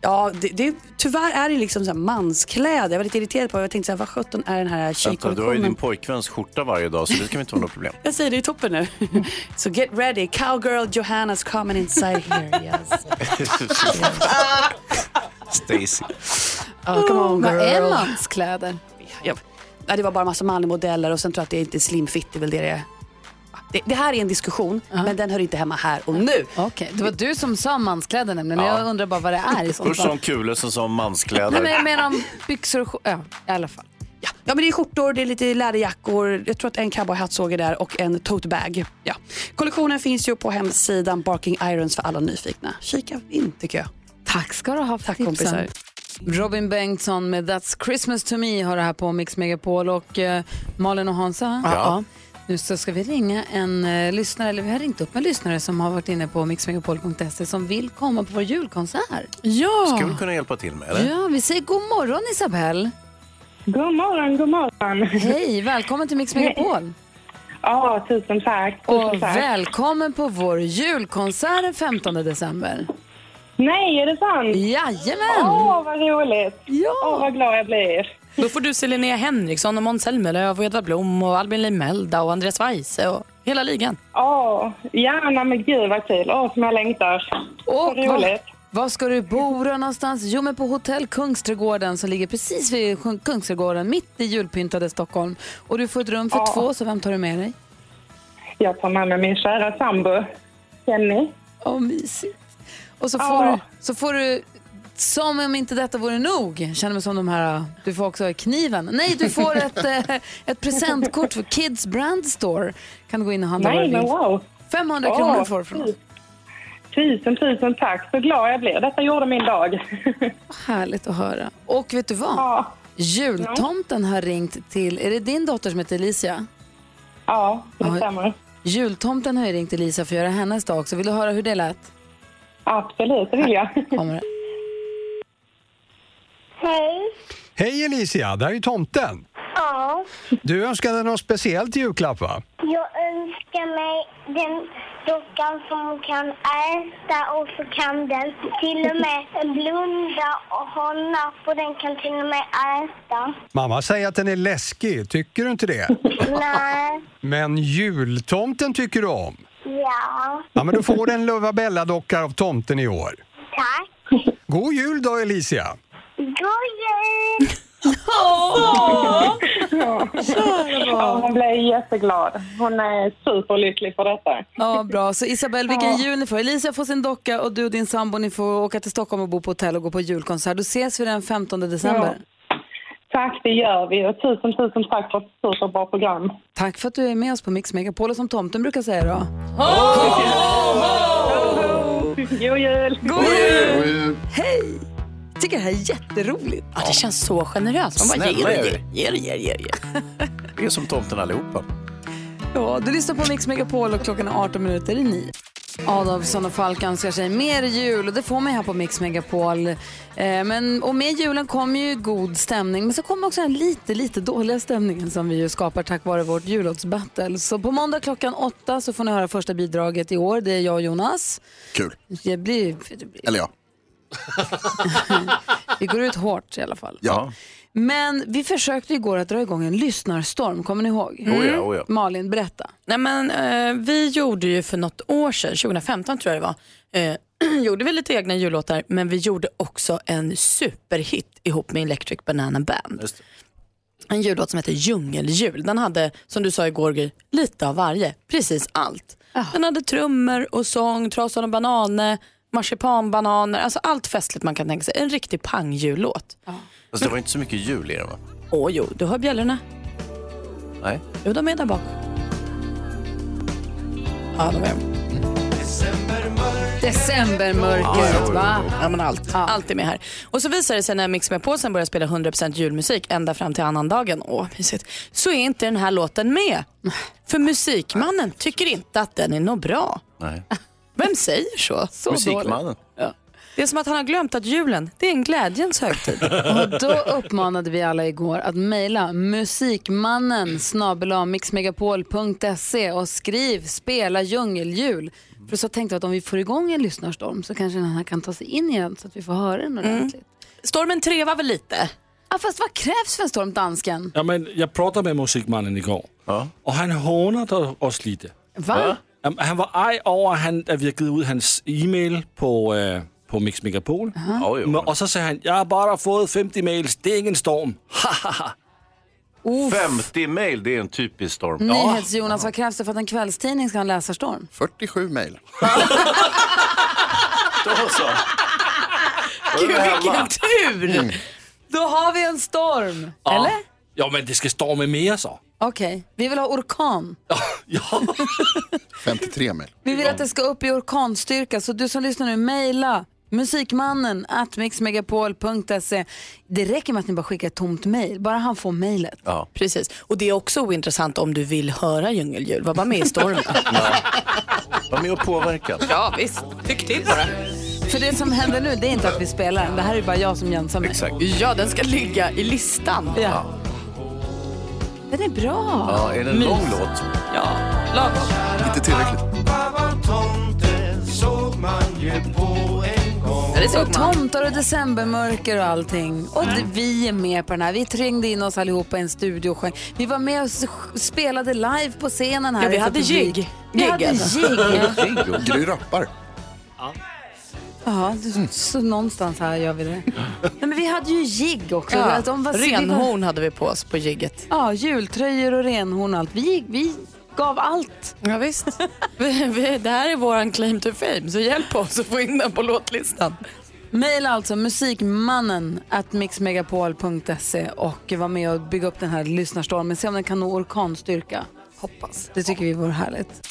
Speaker 23: Ja, det, det, tyvärr är det liksom så här manskläder. Jag var lite irriterad på det. Jag tänkte så här, vad sjutton är den här
Speaker 3: Vänta, du har ju
Speaker 23: tjejkollektionen?
Speaker 3: din pojkväns skjorta varje dag, så det kan vi inte ha något problem.
Speaker 23: Jag säger det i toppen nu. *laughs* Så get ready, cowgirl Johanna's coming inside here. Yes.
Speaker 3: Stacy.
Speaker 23: Oh, come on girl.
Speaker 1: Vad är manskläder?
Speaker 23: Ja, ja, det var bara massa manliga modeller och sen tror jag att det är inte slim fit, det är väl det det är. Det, det här är en diskussion, men den hör inte hemma här och nu.
Speaker 1: Okej, det var du som sa manskläder nämligen.
Speaker 3: Ja.
Speaker 1: Jag undrar bara vad det är i sånt
Speaker 3: Först sa
Speaker 1: fall.
Speaker 3: hon kulor, sen sa hon
Speaker 1: Nej,
Speaker 3: manskläder.
Speaker 1: men jag menar om byxor och skjor- ja, i alla fall.
Speaker 23: Ja, men det är skjortor, det är lite läderjackor, jag tror att en cowboyhatt såg jag där och en tote bag. Ja. Kollektionen finns ju på hemsidan Barking Irons för alla nyfikna. Kika in tycker jag.
Speaker 1: Tack ska du ha för Tack, tipsen.
Speaker 23: kompisar.
Speaker 1: Robin Bengtsson med That's Christmas to me har det här på Mix Megapol och eh, Malin och Hansa.
Speaker 11: Ja.
Speaker 1: Nu så ska vi ringa en eh, lyssnare, eller vi har ringt upp en lyssnare som har varit inne på mixmegapol.se som vill komma på vår julkonsert. Ja!
Speaker 3: Skulle kunna hjälpa till med det.
Speaker 1: Ja, vi säger god morgon Isabelle.
Speaker 26: God morgon, god morgon.
Speaker 1: Hej, välkommen till Mix Megapol.
Speaker 26: Ja, tusen tack. Tusen
Speaker 1: Och
Speaker 26: tack.
Speaker 1: välkommen på vår julkonsert den 15 december.
Speaker 26: Nej, är det sant?
Speaker 1: Jajamän!
Speaker 26: Åh, vad roligt.
Speaker 1: Ja.
Speaker 26: Åh, vad glad jag blir.
Speaker 2: Då får du se Linnea Henriksson och Måns Zelmerlöw och Edvard Blom och Albin Limelda och Andreas Weise och hela ligan.
Speaker 26: Åh, ja, nej, men gud vad kul. Åh, som jag längtar.
Speaker 1: Och
Speaker 26: vad
Speaker 1: var,
Speaker 26: roligt.
Speaker 1: var ska du bo då någonstans? Jo, men på Hotell Kungsträdgården som ligger precis vid Kung- Kungsträdgården, mitt i julpyntade Stockholm. Och du får ett rum för
Speaker 26: Ja.
Speaker 1: två, så vem tar du med dig?
Speaker 26: Jag tar med mig min kära sambo, Jenny.
Speaker 1: Åh, mysigt. Och så
Speaker 26: Ja.
Speaker 1: får, du, så får du, som om inte detta vore nog, Jag känner mig som de här, du får också kniven. Nej, du får ett, eh, *laughs* ett presentkort för Kids Brand Store. Kan du gå in och handla vad
Speaker 26: Nej,
Speaker 1: du
Speaker 26: men
Speaker 1: vill.
Speaker 26: wow.
Speaker 1: 500
Speaker 26: Åh,
Speaker 1: kronor får du från oss.
Speaker 26: Tusen, tusen tack. Så glad jag blir. Detta gjorde min dag.
Speaker 1: Härligt att höra. Och vet du vad? Jultomten har ringt till, är det din dotter som heter Alicia?
Speaker 26: Ja, det stämmer.
Speaker 1: Jultomten har ju ringt Alicia för att göra hennes dag också. Vill du höra hur det lät?
Speaker 26: Absolut, det vill jag.
Speaker 1: Kommer det.
Speaker 26: Hej.
Speaker 22: Hej Alicia, det här är tomten.
Speaker 27: Ja,
Speaker 22: Du önskade något speciellt i julklapp va?
Speaker 27: jag önskar mig den
Speaker 10: dockan som kan äta och så kan den till och med blunda och hålla och den kan till och med äta.
Speaker 22: Mamma säger att den är läskig, tycker du inte det?
Speaker 10: Nej,
Speaker 22: Men jultomten tycker du om?
Speaker 10: ja,
Speaker 22: Ja, men då får du en Lovabella-docka av tomten i år.
Speaker 10: tack.
Speaker 22: God jul då, Alicia!
Speaker 10: God jul!
Speaker 22: Åh!
Speaker 17: Ja, hon blev jätteglad. Hon är superlycklig för detta.
Speaker 1: Ja, bra. Så Isabel, vilken
Speaker 17: Ja.
Speaker 1: jul ni får. Elisa får sin docka och du och din sambo ni får åka till Stockholm och bo på hotell och gå på julkonsert. Då ses vi den 15 december.
Speaker 17: Tack, det gör vi. Och tusen, tusen tack för ett superbra program.
Speaker 1: Tack för att du är med oss på Mix Megapol och som tomten brukar säga då.
Speaker 17: God jul!
Speaker 1: God jul! Hej! Jag tycker det här är jätteroligt.
Speaker 2: Ja, det känns så
Speaker 1: alltså,
Speaker 2: generöst. Man bara ger
Speaker 3: Snälla
Speaker 2: och
Speaker 3: är
Speaker 2: ger.
Speaker 3: vi. Vi är som tomten allihopa.
Speaker 1: Ja, du lyssnar på Mix Megapol och klockan är 18 minuter i nio. Adolfsson och Falk önskar sig mer jul och det får man här på Mix Megapol. Eh, men, och med julen kommer ju god stämning men så kommer också den lite, lite dåliga stämningen som vi ju skapar tack vare vårt jullåtsbattle. Så på måndag klockan åtta så får ni höra första bidraget i år. Det är jag och Jonas.
Speaker 20: Kul.
Speaker 1: Det blir,
Speaker 20: Eller ja.
Speaker 1: *laughs* vi går ut hårt i alla fall.
Speaker 20: ja.
Speaker 1: Men vi försökte igår att dra igång en lyssnarstorm, kommer ni ihåg? Mm.
Speaker 2: Oh ja, oh ja.
Speaker 1: Malin, berätta.
Speaker 2: Nej, men, eh, vi gjorde ju för något år sedan, 2015 tror jag det var, eh, *clears throat* gjorde vi lite egna jullåtar men vi gjorde också en superhit ihop med Electric Banana Band. En jullåt som heter Djungeljul. Den hade, som du sa igår Gry, lite av varje, precis allt.
Speaker 1: Ah.
Speaker 2: Den hade trummor och sång, Trasan och bananer, marsipanbananer, alltså allt festligt man kan tänka sig. En riktig pangjullåt.
Speaker 3: Fast det var inte så mycket jul i den va?
Speaker 2: Åh jo, du hör bjällrorna.
Speaker 3: Nej.
Speaker 2: Jo, de är där bak. Ja, de är
Speaker 1: Decembermörkret, va?
Speaker 2: Ja, men allt. Allt är med här. Och så visar det sig när Mix med påsen börjar spela 100% julmusik ända fram till annandagen, åh mysigt, så är inte den här låten med. För musikmannen tycker inte att den är något bra.
Speaker 1: *laughs*
Speaker 3: Nej.
Speaker 2: Vem säger så? så
Speaker 3: Musikmannen.
Speaker 2: Det är som att han har glömt att julen, det är en glädjens högtid.
Speaker 1: Och då uppmanade vi alla igår att mejla musikmannen snabel-a mixmegapol.se och skriv spela djungeljul. För så tänkte jag att om vi får igång en lyssnarstorm så kanske den här kan ta sig in igen så att vi får höra den ordentligt.
Speaker 2: Mm. Stormen trevar väl lite?
Speaker 1: Ja, fast vad krävs för en storm, dansken?
Speaker 4: Ja, men jag pratade med musikmannen igår och han hånade oss lite.
Speaker 1: Va?
Speaker 4: Jamen, han var arg over, at han, at vi har givet ud hans e-mail på, øh, på Mix Megapol. Men- Og så sagde han, jeg har bare fået 50 mails, det er ikke
Speaker 1: *laughs*
Speaker 4: en storm. Hahaha.
Speaker 3: 50 mejl, det är en typisk storm.
Speaker 1: Nyhets-Jonas, vad krävs det för att en kvällstidning ska ha en läsarstorm?
Speaker 3: 47 mejl. Då så.
Speaker 1: Gud, vilken
Speaker 2: tur!
Speaker 3: Mm.
Speaker 1: Då har vi en storm, eller?
Speaker 4: Jo, men det skal storme mere så.
Speaker 1: Okej, vi vill ha orkan.
Speaker 20: 53 mil.
Speaker 1: Vi vill att det ska upp i orkanstyrka, så du som lyssnar nu, mejla musikmannen at mixmegapol.se. Det räcker med att ni bara skickar ett tomt mejl, bara han får mejlet.
Speaker 3: Ja.
Speaker 2: Precis, och det är också ointressant om du vill höra djungeljul, var bara med i stormen.
Speaker 3: Var med och påverka.
Speaker 2: Ja, visst. Tyck till bara.
Speaker 1: För det som händer nu, det är inte att vi spelar den. Det här är bara jag som jämsar mig.
Speaker 2: Ja, den ska ligga i listan.
Speaker 1: Ja. Den är bra.
Speaker 3: Ja, är det en
Speaker 1: Mys.
Speaker 3: lång låt?
Speaker 2: Ja, lagom.
Speaker 20: Inte tillräckligt.
Speaker 1: Och tomtar och decembermörker och allting. Och
Speaker 2: Mm.
Speaker 1: det, vi är med på den här. Vi trängde in oss allihopa i en studio. och sjöng. Vi var med och s- spelade live på scenen här.
Speaker 2: Ja, vi
Speaker 1: för
Speaker 2: hade
Speaker 1: publik.
Speaker 2: jigg.
Speaker 1: Vi hade jigg.
Speaker 20: Gry rappar.
Speaker 1: Ja, du, så någonstans här gör vi det. Nej, men vi hade ju jigg också.
Speaker 2: Ja,
Speaker 1: Att de var-
Speaker 2: renhorn hade vi på oss på jigget.
Speaker 1: Ja, jultröjor och renhorn och allt. Vi, vi gav allt.
Speaker 2: Ja, visst. vi, vi, det här är våran claim to fame, så hjälp oss att få in den på låtlistan.
Speaker 1: Maila alltså musikmannen at mixmegapol.se och var med och bygga upp den här lyssnarstormen. Se om den kan nå orkanstyrka. Hoppas. Det tycker vi vore härligt.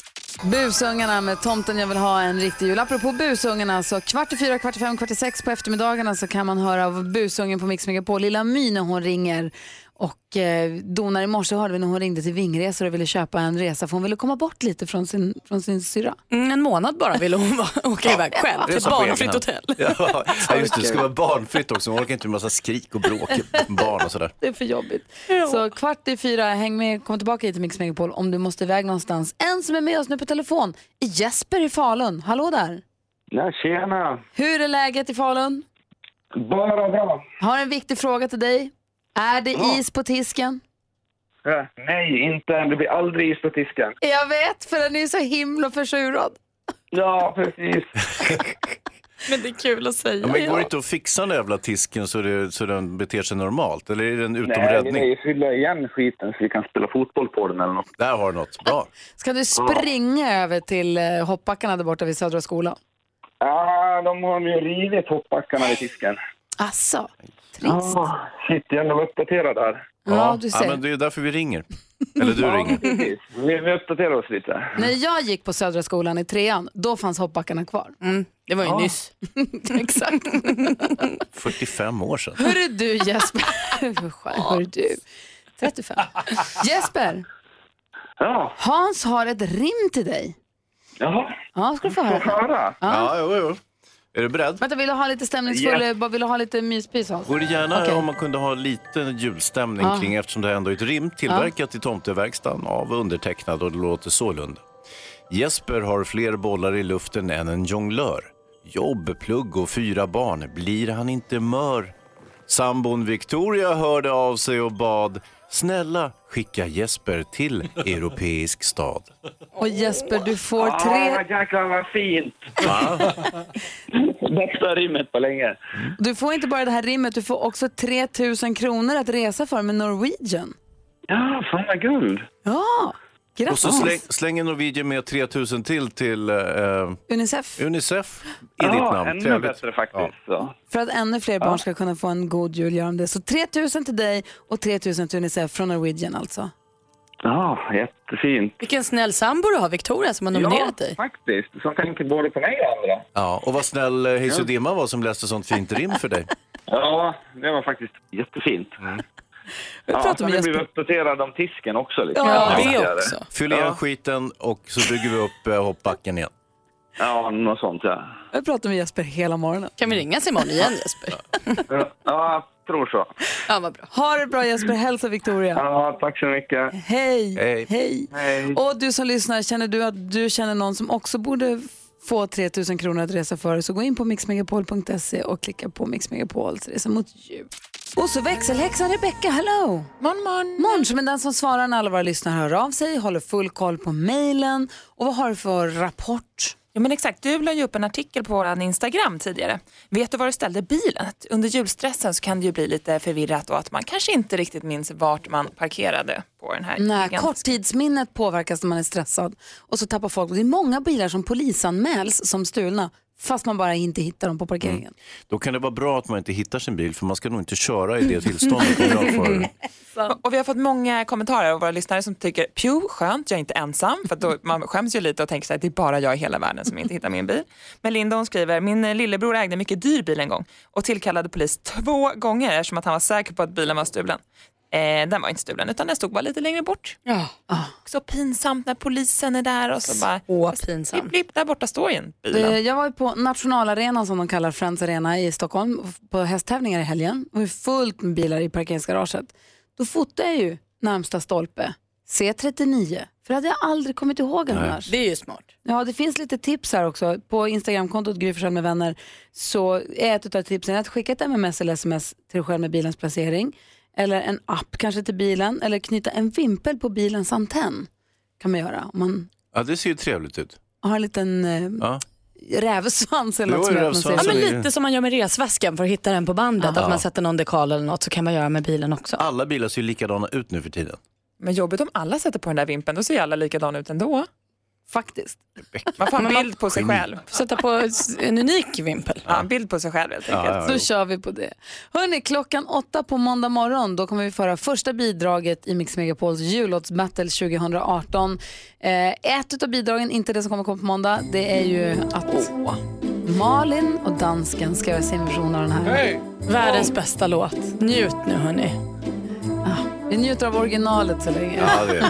Speaker 1: Busungarna med Tomten jag vill ha en riktig jul. Apropå busungarna, så kvart i fyra, kvart i fem, kvart i sex på eftermiddagarna så kan man höra av busungen på Mix Megapol, Lilla My, när hon ringer Och eh, donar i morse hörde vi när hon ringde till Vingresor och ville köpa en resa för hon ville komma bort lite från sin, från sin syrra.
Speaker 2: Mm, en månad bara ville hon vara- åka iväg själv till ett
Speaker 3: Resa på egen
Speaker 2: barnfritt
Speaker 3: hand.
Speaker 2: hotell.
Speaker 3: Ja, ja, just det. Det ska vara barnfritt också. Man orkar inte med massa skrik och bråk med barn och sådär.
Speaker 1: Det är för jobbigt. Så kvart i fyra, häng med, kom tillbaka hit till Mix Megapol om du måste iväg någonstans. En som är med oss nu på telefon är Jesper i Falun. Hallå där!
Speaker 17: Ja, tjena!
Speaker 1: Hur är läget i Falun?
Speaker 17: Bara bra.
Speaker 1: Har en viktig fråga till dig. Är det
Speaker 17: Ja.
Speaker 1: is på tisken?
Speaker 17: Ja, nej, inte än. Det blir aldrig is på tisken.
Speaker 1: Jag vet, för den är så himla försurad.
Speaker 17: Ja, precis.
Speaker 2: *laughs* Men det är kul att säga.
Speaker 3: Ja, men går det inte att fixa den där jävla tisken så, det, så den beter sig normalt? Eller är den utom
Speaker 17: nej,
Speaker 3: räddning?
Speaker 17: nej, fylla igen skiten så vi kan spela fotboll på den eller något.
Speaker 3: Där har du något. Bra.
Speaker 1: Ska du springa över till eh, hoppbackarna där borta vid Södra skolan?
Speaker 17: Ja, de har ju rivit hoppbackarna vid tisken.
Speaker 1: Asså, trist.
Speaker 17: Ja, shit, jag är ändå uppdaterad här.
Speaker 1: Ja, Ja, du ser.
Speaker 3: men det är därför vi ringer. Eller du
Speaker 17: Ja,
Speaker 3: ringer.
Speaker 17: precis. Vi, vi uppdaterar oss lite.
Speaker 1: När jag gick på Södra skolan i trean, då fanns hoppbackarna kvar.
Speaker 2: Mm, det var ju
Speaker 3: Ja.
Speaker 2: nyss.
Speaker 1: *laughs* Exakt.
Speaker 3: 45 år sedan.
Speaker 1: Hörru du *laughs* Jesper. Hörru du. 35. Jesper,
Speaker 17: Ja,
Speaker 1: Hans har ett rim till dig.
Speaker 17: jaha.
Speaker 1: Ja, ska du få höra.
Speaker 17: höra.
Speaker 3: Ja, jo, jo. Är du beredd?
Speaker 1: Vänta, vill du ha lite stämningsfull,
Speaker 3: Yes.
Speaker 1: bara vill du ha lite myspys Hans?
Speaker 3: Vore gärna
Speaker 1: Okej.
Speaker 3: om man kunde ha lite julstämning
Speaker 1: Ja.
Speaker 3: kring eftersom det här ändå är ett rim tillverkat i tomteverkstan av undertecknad och det låter sålunda. Jesper har fler bollar i luften än en jonglör. Jobb, plugg och fyra barn. Blir han inte mör? Sambon Victoria hörde av sig och bad Snälla skicka Jesper till europeisk stad.
Speaker 1: Och Jesper, du får
Speaker 17: Ja,
Speaker 1: tre,
Speaker 17: jäklar vad fint!
Speaker 3: Va?
Speaker 17: *laughs* Bästa rimmet på länge.
Speaker 1: du får inte bara det här rimmet, du får också 3 000 kronor att resa för med Norwegian.
Speaker 17: Ja, fan vad guld.
Speaker 1: Ja,
Speaker 3: Och så
Speaker 1: grattis.
Speaker 3: släng, slänger Norwegian med 3000 till till eh,
Speaker 1: Unicef.
Speaker 3: Unicef i
Speaker 17: Ja,
Speaker 3: ditt namn.
Speaker 17: ännu bättre
Speaker 3: faktiskt.
Speaker 17: Ja.
Speaker 1: För att ännu fler barn ska kunna få en god jul gör de det. Så 3 000 till dig och 3 000 till Unicef från Norwegian alltså.
Speaker 17: Ja, jättefint.
Speaker 2: Vilken snäll sambo du har, Victoria, som har nominerat dig.
Speaker 17: Faktiskt, som tänker både på mig och andra.
Speaker 3: Ja, och vad snäll eh, Hayes och Dimma var som läste sånt fint rim för dig.
Speaker 17: Ja, det var faktiskt jättefint.
Speaker 3: Jag pratar med
Speaker 17: nu blir vi
Speaker 3: Jesper.
Speaker 17: uppdaterade om tisken också. liksom. Lite.
Speaker 3: Ja,
Speaker 17: grann.
Speaker 3: det också. Fyll igen
Speaker 17: Ja.
Speaker 3: skiten och så bygger vi upp eh, hoppbacken igen.
Speaker 17: Ja, något sånt ja.
Speaker 1: Jag pratar med Jesper hela morgonen.
Speaker 2: Kan vi ringa Simon igen Jesper?
Speaker 17: Ja, jag tror så.
Speaker 2: Ja, vad bra.
Speaker 1: Ha det bra Jesper, hälsa Victoria.
Speaker 17: Ja, tack så mycket.
Speaker 1: Hej.
Speaker 17: Hej.
Speaker 1: Hej.
Speaker 17: Hej.
Speaker 1: Och du som lyssnar, känner du att du känner någon som också borde få 3 000 kronor att resa för så gå in på mixmegapol.se och klicka på Mix Megapols resa mot jul. Och så växelhäxan Rebecca, hello! Morgon, morgon! Morgon, som är den som svarar när alla våra lyssnare hör av sig, håller full koll på mejlen. Och vad har du för rapport?
Speaker 6: Ja, men exakt. Du la ju upp en artikel på vår Instagram tidigare. Vet du var du ställde bilen? Att Under julstressen så kan det ju bli lite förvirrat och att man kanske inte riktigt minns vart man parkerade på den här
Speaker 1: Nej,
Speaker 6: gigantiska-
Speaker 1: korttidsminnet påverkas när man är stressad och så tappar folk. Det är många bilar som polisanmäls som stulna fast man bara inte hittar dem på parkeringen.
Speaker 3: Då kan det vara bra att man inte hittar sin bil för man ska nog inte köra i det tillståndet. om
Speaker 17: *laughs*
Speaker 3: jag
Speaker 6: *laughs*
Speaker 3: får-
Speaker 6: Och- Och vi har fått många kommentarer av våra lyssnare som tycker pju, skönt, jag är inte ensam. För att då, man skäms ju lite och tänker så här, det är bara jag i hela världen som inte hittar min bil. Men Linda hon skriver, min eh, lillebror ägde en mycket dyr bil en gång och tillkallade polis två gånger eftersom att han var säker på att bilen var stulen. Eh, den var inte stulen utan den stod bara lite längre bort.
Speaker 2: Ja.
Speaker 1: Ah.
Speaker 6: Så pinsamt när polisen är där och så bara...
Speaker 2: Så pinsamt.
Speaker 6: Blipp, blipp, där borta står ju en
Speaker 1: Eh,
Speaker 6: bil.
Speaker 1: Jag var ju på nationalarenan som de kallar Friends Arena i Stockholm f- på hästtävlingar i helgen. Det var ju fullt med bilar i parkeringsgaraget. Då fotade jag ju närmsta stolpe, C39. För det hade jag aldrig kommit ihåg annars.
Speaker 2: Det är ju smart.
Speaker 1: Ja, det finns lite tips här också. På Instagramkontot Gry Forssell med vänner så är ett av tipsen att skicka ett MMS eller SMS till dig själv med bilens placering. Eller en app kanske till bilen. Eller knyta en vimpel på bilens antenn. Kan man göra om man
Speaker 3: Ja, det ser ju trevligt ut.
Speaker 1: har en liten eh,
Speaker 3: Ja.
Speaker 1: rävsvans eller
Speaker 3: Jo,
Speaker 1: något som gör att man ser-
Speaker 3: rävsvansen
Speaker 2: Ja, men lite som man gör med resväskan för att hitta den på bandet.
Speaker 3: Ja.
Speaker 2: Att man sätter någon dekal eller något så kan man göra med bilen också.
Speaker 3: Alla bilar ser ju likadana ut nu för tiden.
Speaker 6: Men jobbigt om alla sätter på den där vimpen, då ser ju alla likadana ut ändå.
Speaker 1: Faktiskt.
Speaker 6: Man får en
Speaker 2: Men man-
Speaker 6: bild på sig
Speaker 2: Geni.
Speaker 6: själv.
Speaker 2: Sätta på s- en unik vimpel.
Speaker 6: Ja, en bild på sig själv helt
Speaker 2: Ja,
Speaker 6: enkelt.
Speaker 2: ja,
Speaker 1: Då kör vi på det. Hörni, klockan åtta på måndag morgon då kommer vi föra första bidraget i Mix Megapols jullåtsbattle 2018. Eh, ett av bidragen, inte det som kommer komma på måndag, det är ju att Malin och dansken ska göra sin version av den här.
Speaker 2: Världens bästa låt. Njut nu hörni.
Speaker 1: Ah, Vi njuter av originalet så länge.
Speaker 23: Ja, det är.